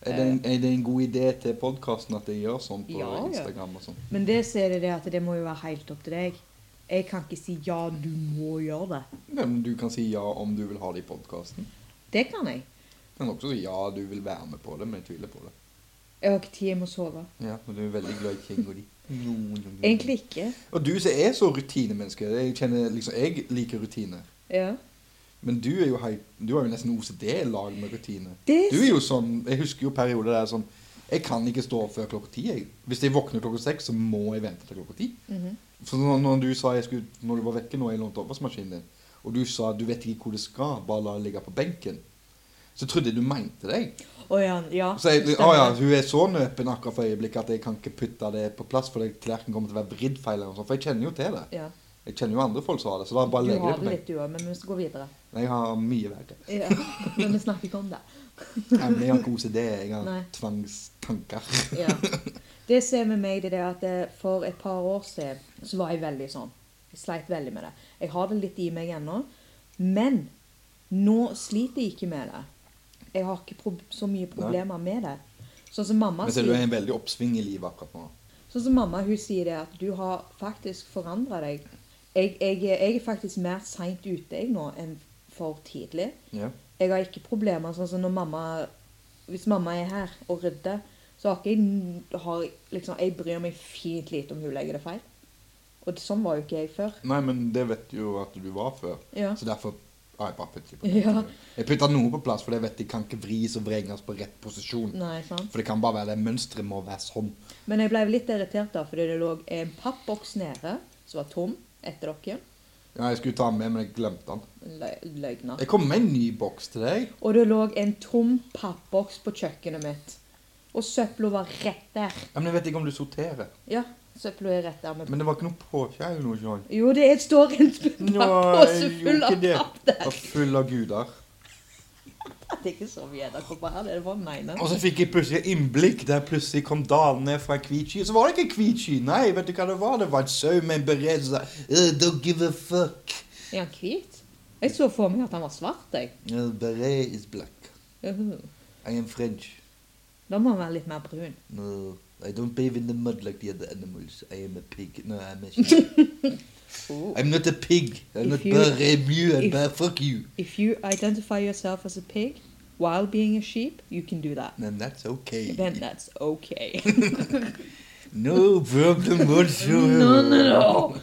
Speaker 2: er det, en, er det en god idé til podkasten at jeg gjør sånn på
Speaker 1: Eh. Ja, ja.
Speaker 2: Instagram og sånn?
Speaker 1: Men det så er det det at det må jo være helt opp til deg. Jeg kan ikke si ja, du må gjøre det.
Speaker 2: Ja, Men du kan si ja om du vil ha det i podkasten.
Speaker 1: Det kan jeg.
Speaker 2: Du kan også si ja, du vil være med på det, men jeg tviler på det.
Speaker 1: Jeg har ikke tid, jeg må sove.
Speaker 2: Ja, men du er veldig glad i kinga di.
Speaker 1: Egentlig ikke.
Speaker 2: Og du som er så rutinemenneske, jeg kjenner liksom Jeg liker rutiner.
Speaker 1: Ja.
Speaker 2: Men du er jo hei, du har jo nesten OCD-lag med rutiner.
Speaker 1: Det er
Speaker 2: Du er jo sånn Jeg husker jo perioder der sånn Jeg kan ikke stå opp før klokka ti. jeg. Hvis jeg våkner klokka seks, så må jeg vente til klokka ti.
Speaker 1: Mhm.
Speaker 2: For når, når du sa jeg skulle, når du var vekke nå, jeg lånte oppvaskmaskinen din, og du sa du vet ikke hvor det skal, bare la det ligge på benken Så trodde jeg du mente deg.
Speaker 1: Å ja, ja.
Speaker 2: Så jeg, å
Speaker 1: stemmer.
Speaker 2: ja, hun er så nøpen akkurat for øyeblikket at jeg kan ikke putte det på plass, for det- tallerkenen kommer til å være vridd feil, eller noe sånt, for jeg kjenner jo til det.
Speaker 1: Ja.
Speaker 2: Jeg kjenner jo andre folk som har det, så da bare
Speaker 1: Du
Speaker 2: legger jeg
Speaker 1: har
Speaker 2: det på
Speaker 1: det
Speaker 2: meg.
Speaker 1: litt du òg, men vi skal gå videre.
Speaker 2: Nei, Jeg har mye verre.
Speaker 1: Ja. Men vi snakker ikke om det.
Speaker 2: Nei, men Jeg har ikke OCD, jeg har
Speaker 1: Nei.
Speaker 2: tvangstanker.
Speaker 1: Ja. Det som er med meg, det er det at eh, for et par år siden så var jeg veldig sånn. Jeg sleit veldig med det. Jeg har det litt i meg ennå. Men nå sliter jeg ikke med det. Jeg har ikke prob så mye problemer med det. Sånn som mamma
Speaker 2: Men ser du, det er en veldig oppsving i livet akkurat nå.
Speaker 1: Sånn som mamma hun sier det at du har faktisk forandra deg. Jeg, jeg, er- jeg er faktisk mer seint ute jeg nå enn for tidlig.
Speaker 2: Ja.
Speaker 1: Jeg har ikke problemer sånn som når mamma Hvis mamma er her og rydder, så har ikke jeg n- har, liksom, Jeg bryr meg fint lite om hun legger det feil. Og sånn var jo ikke jeg før.
Speaker 2: Nei, men det vet du jo at du var før.
Speaker 1: Ja.
Speaker 2: Så derfor har jeg bare puttet det på plass.
Speaker 1: Ja.
Speaker 2: Jeg putta noe på plass, for jeg vet de kan ikke vris og vrenges på rett posisjon.
Speaker 1: Nei, sant?
Speaker 2: For det kan bare være det mønsteret må være sånn.
Speaker 1: Men jeg ble litt irritert da, fordi det lå en pappboks nede som var tom etter dere.
Speaker 2: Ja, jeg skulle ta den med, men jeg glemte den.
Speaker 1: Lø- Løgner.
Speaker 2: Jeg kom med en ny boks til deg.
Speaker 1: Og det lå en tom pappboks på kjøkkenet mitt. Og søpla var rett der.
Speaker 2: Ja, men Jeg vet ikke om du sorterer.
Speaker 1: Ja, søpla er rett der. Med.
Speaker 2: Men det var ikke noe påkje eller noe sånt.
Speaker 1: Jo, det er- står en pappose
Speaker 2: jeg
Speaker 1: full
Speaker 2: gjorde
Speaker 1: av
Speaker 2: ikke det.
Speaker 1: papp
Speaker 2: Det
Speaker 1: der.
Speaker 2: var Full av guder.
Speaker 1: Det er ikke så mye edderkopper her, det er det bare meg nå.
Speaker 2: Og så fikk jeg plutselig innblikk der plutselig kom dalene fra en hvit sky. Så var det ikke en hvit sky, nei. Vet du hva det var? Det var en sau med en beret som sa «Eh, Don't give a fuck.
Speaker 1: Er han hvit? Jeg så for meg at han var svart, jeg.
Speaker 2: Eh, Beret is black.
Speaker 1: Uhu.
Speaker 2: I am French.
Speaker 1: Da må han være litt mer brun.
Speaker 2: No, I don't bathe in the mud like the other animals. I am a pig. No, I'm a sheep.
Speaker 1: Oh.
Speaker 2: I'm not a pig. I'm not
Speaker 1: If you-
Speaker 2: bare mu and
Speaker 1: if-
Speaker 2: bare fuck you.
Speaker 1: If you identify yourself as a pig while being a sheep, you can do that.
Speaker 2: And that's okay.
Speaker 1: Then that's okay.
Speaker 2: No problem whatsoever.
Speaker 1: None at all.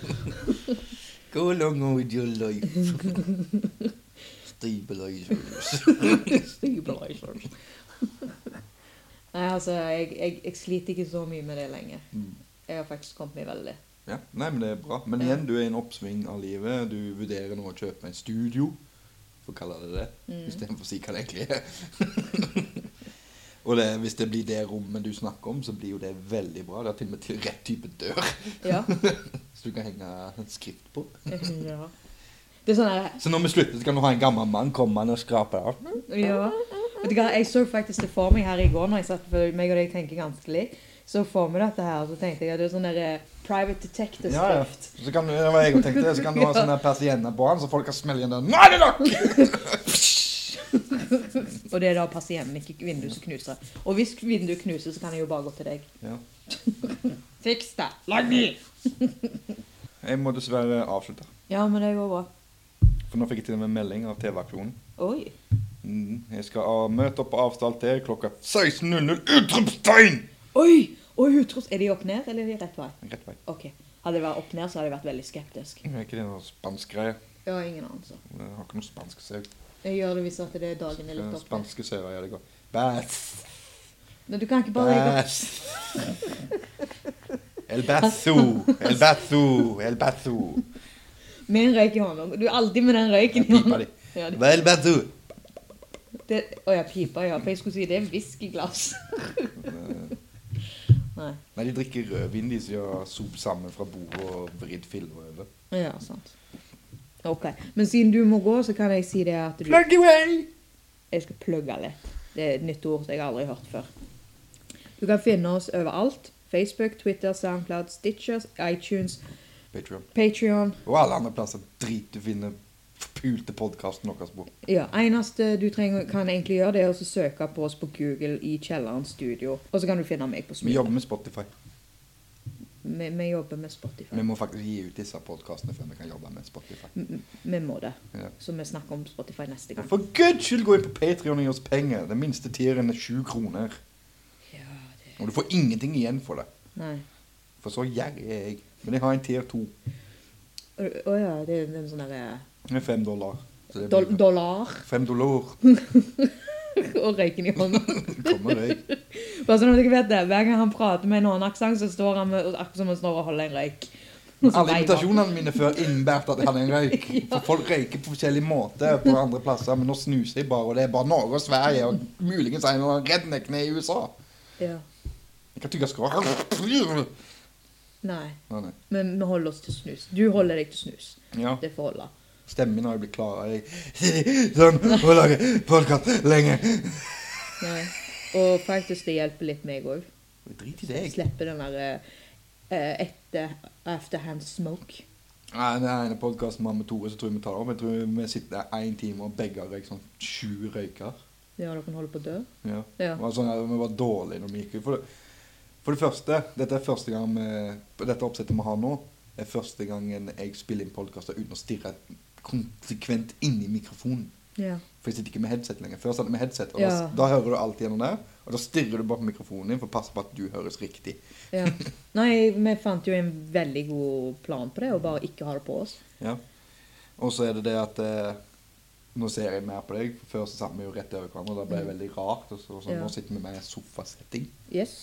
Speaker 2: Go along with your life. Stabilizers.
Speaker 1: Stabilizers. Nei, altså, jeg, jeg, jeg sliter ikke så mye med det lenger.
Speaker 2: Mm.
Speaker 1: Jeg har faktisk kommet meg veldig.
Speaker 2: Ja, nei, men det er bra. Men igjen, du er i en oppsving av livet. Du vurderer nå å kjøpe en studio, for å kalle det det,
Speaker 1: Mm.
Speaker 2: istedenfor å si hva det egentlig er. og det, hvis det blir det rommet du snakker om, så blir jo det veldig bra. Det er til og med til rett type dør,
Speaker 1: Ja.
Speaker 2: så du kan henge en skrift på.
Speaker 1: ja. Det er sånn her
Speaker 2: Så når vi slutter, så kan du ha en gammel mann komme og skrape det av.
Speaker 1: Ja. Vet du hva, jeg så faktisk det for meg her i går når jeg satt for meg og deg tenker ganske likt. Så for meg dette her, så tenkte jeg at det er sånn der eh, private detective-skrift.
Speaker 2: Så kan du, det var jeg og tenkte det, så kan du ha
Speaker 1: Ja.
Speaker 2: sånne persienner på han, så folk kan smelle igjen den. Nå er det nok!
Speaker 1: Og det er da pasienten, ikke vinduet som knuser. Og hvis vinduet knuser, så kan jeg jo bare gå til deg.
Speaker 2: Ja.
Speaker 1: Fiks det! Lag ny!
Speaker 2: Jeg må dessverre avslutte,
Speaker 1: Ja, men det går bra.
Speaker 2: for nå fikk jeg til og med melding av TV-aksjonen.
Speaker 1: Oi.
Speaker 2: Mm, Jeg skal ah, møte opp på avstand til klokka 16.00. Utropstegn!
Speaker 1: Oi! Oi, utros. Er de opp ned, eller er de rett vei?
Speaker 2: Rett vei.
Speaker 1: Ok. Hadde det vært opp ned, så hadde jeg vært veldig skeptisk.
Speaker 2: Er ikke det noe spansk greie?
Speaker 1: Jeg har ingen anelse.
Speaker 2: Jeg har ikke noe spansk sau.
Speaker 1: Jeg gjør det hvis at det er dagen er litt opp ned.
Speaker 2: Spanske sauer gjør det godt. Bæs!
Speaker 1: Men du kan ikke bare legge opp.
Speaker 2: Bæs! El basso! El basso! El basso!
Speaker 1: Med en røyk i hånda. Du er alltid med den røyken i
Speaker 2: Pipa
Speaker 1: hånda.
Speaker 2: di.
Speaker 1: Ja, det-
Speaker 2: Hva er El basso?
Speaker 1: Det, å ja, pipa, ja. For jeg skulle si det er whiskyglass. Nei.
Speaker 2: Nei, de drikker rødvin, de som gjør sop sammen fra bordet og vridd filler over.
Speaker 1: Ja, sant. Ok. Men siden du må gå, så kan jeg si det at du
Speaker 2: Plug away!
Speaker 1: Jeg skal plugge litt. Det er et nytt ord som jeg aldri har hørt før. Du kan finne oss overalt. Facebook, Twitter, Soundcloud, Stitchers, iTunes,
Speaker 2: Patreon.
Speaker 1: Patrion.
Speaker 2: Og alle andre plasser drit du finner forpulte podkasten vår på.
Speaker 1: Ja, eneste du trenger, kan egentlig gjøre, det er å søke på oss på Google i Kjelleren studio. Og så kan du finne meg på
Speaker 2: Vi
Speaker 1: Smule.
Speaker 2: jobber med Spotify.
Speaker 1: Vi, vi jobber med Spotify.
Speaker 2: Vi må faktisk gi ut disse podkastene før vi kan jobbe med Spotify.
Speaker 1: M- Vi må det.
Speaker 2: Ja.
Speaker 1: Så vi snakker om Spotify neste gang.
Speaker 2: For guds skyld, gå inn på Patreon og gi oss penger. Den minste tieren er sju kroner.
Speaker 1: Ja, det...
Speaker 2: Og du får ingenting igjen for det.
Speaker 1: Nei.
Speaker 2: For så gjerrig er jeg. Men jeg har en tier to.
Speaker 1: Å å ja, det er en sånn derre
Speaker 2: Med fem dollar. Så det
Speaker 1: dol
Speaker 2: blir
Speaker 1: dollar
Speaker 2: fem dollar.
Speaker 1: og røyken i hånda.
Speaker 2: Kommer deg.
Speaker 1: Bare sånn at dere vet det, Hver gang han prater med en annen aksent, så står han med, akkurat som han står og holder en røyk.
Speaker 2: Alle invitasjonene mine før innbærte at jeg hadde en røyk. For folk røyker på forskjellige måter på andre plasser, men nå snuser jeg bare. Og det er bare Norge og Sverige og muligens en av redneckene i USA.
Speaker 1: Ja.
Speaker 2: Jeg kan tygge skrå. Nei,
Speaker 1: Nei,
Speaker 2: nei.
Speaker 1: men vi holder oss til snus. Du holder deg til snus.
Speaker 2: Ja.
Speaker 1: Det får holde.
Speaker 2: Stemmen min har jo blitt klar. Jeg sånn og lager podkast lenge.
Speaker 1: Nei. Og faktisk, det hjelper litt meg òg.
Speaker 2: Drit i det, jeg.
Speaker 1: Slippe den der eh, etter afterhand smoke.
Speaker 2: Nei, den ene podkasten med Tore, så tror jeg vi tar det opp. Jeg tror vi sitter der én time, og begge har røykt sånn sju røyker.
Speaker 1: Ja, dere holder på å dø.
Speaker 2: Ja.
Speaker 1: Ja.
Speaker 2: Det var sånn at vi var dårlige når vi gikk ut. For det, for det første, dette er første gang vi, på dette oppsettet vi har nå, er første gangen jeg spiller inn podkaster uten å stirre konsekvent inn i mikrofonen.
Speaker 1: Ja.
Speaker 2: For jeg sitter ikke med headset lenger. Før satt jeg med headset, og
Speaker 1: Ja.
Speaker 2: da, da hører du alt gjennom der. Og da stirrer du bare på mikrofonen din for å passe på at du høres riktig.
Speaker 1: ja. Nei, vi fant jo en veldig god plan på det, å bare ikke ha det på oss.
Speaker 2: Ja. Og så er det det at eh, nå ser jeg mer på deg. for Før så satt vi jo rett over hverandre, og da ble det veldig rart. Og så, så
Speaker 1: Mm. Ja.
Speaker 2: Nå sitter vi mer i sofasetting,
Speaker 1: Yes.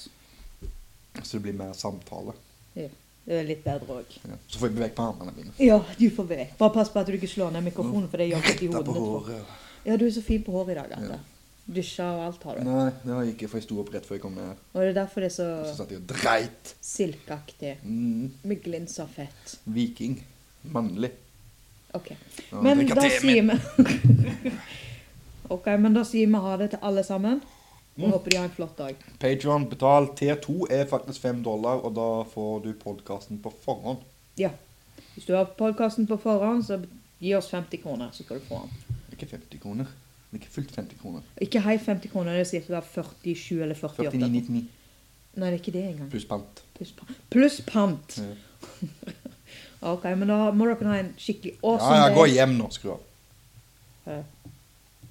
Speaker 2: så det blir mer samtale.
Speaker 1: Ja. Det er litt bedre òg.
Speaker 2: Ja. Så får jeg bevege på armene mine.
Speaker 1: Ja, du får vekk. Bare pass på at du ikke slår ned mikrofonen, for det gjør vondt i
Speaker 2: Rett
Speaker 1: hodet.
Speaker 2: på
Speaker 1: ditt.
Speaker 2: håret.
Speaker 1: Ja, du er så fin på håret i dag, Atte.
Speaker 2: Ja.
Speaker 1: Dusja og alt har du.
Speaker 2: Nei, det har jeg ikke, for jeg sto opp rett før jeg kom ned.
Speaker 1: Og det er derfor det er
Speaker 2: Og så
Speaker 1: så
Speaker 2: satt jeg og dreit.
Speaker 1: silkeaktig.
Speaker 2: Mm,
Speaker 1: Med glins av fett.
Speaker 2: viking. Mannlig.
Speaker 1: OK.
Speaker 2: Ja,
Speaker 1: Men
Speaker 2: drikker
Speaker 1: da
Speaker 2: teen
Speaker 1: sier vi OK, men da sier vi ha det til alle sammen. Og håper de har en flott dag.
Speaker 2: Patreon, betal. T2 er faktisk 5 dollar, og da får du podkasten på forhånd.
Speaker 1: Ja. Hvis du har podkasten på forhånd, så gi oss 50 kroner, så skal du få den.
Speaker 2: Ikke 50 kroner. Det er Ikke fullt 50 kroner.
Speaker 1: Ikke hei 50 kroner, det er ca. 47 eller 48.
Speaker 2: 49,99
Speaker 1: Nei, det er ikke det engang.
Speaker 2: pluss pant.
Speaker 1: Pluss pa- Pluss pant.
Speaker 2: Ja.
Speaker 1: OK, men da må dere ha en skikkelig
Speaker 2: Ja,
Speaker 1: awesome
Speaker 2: ja, gå hjem nå. Skru av.
Speaker 1: Ja.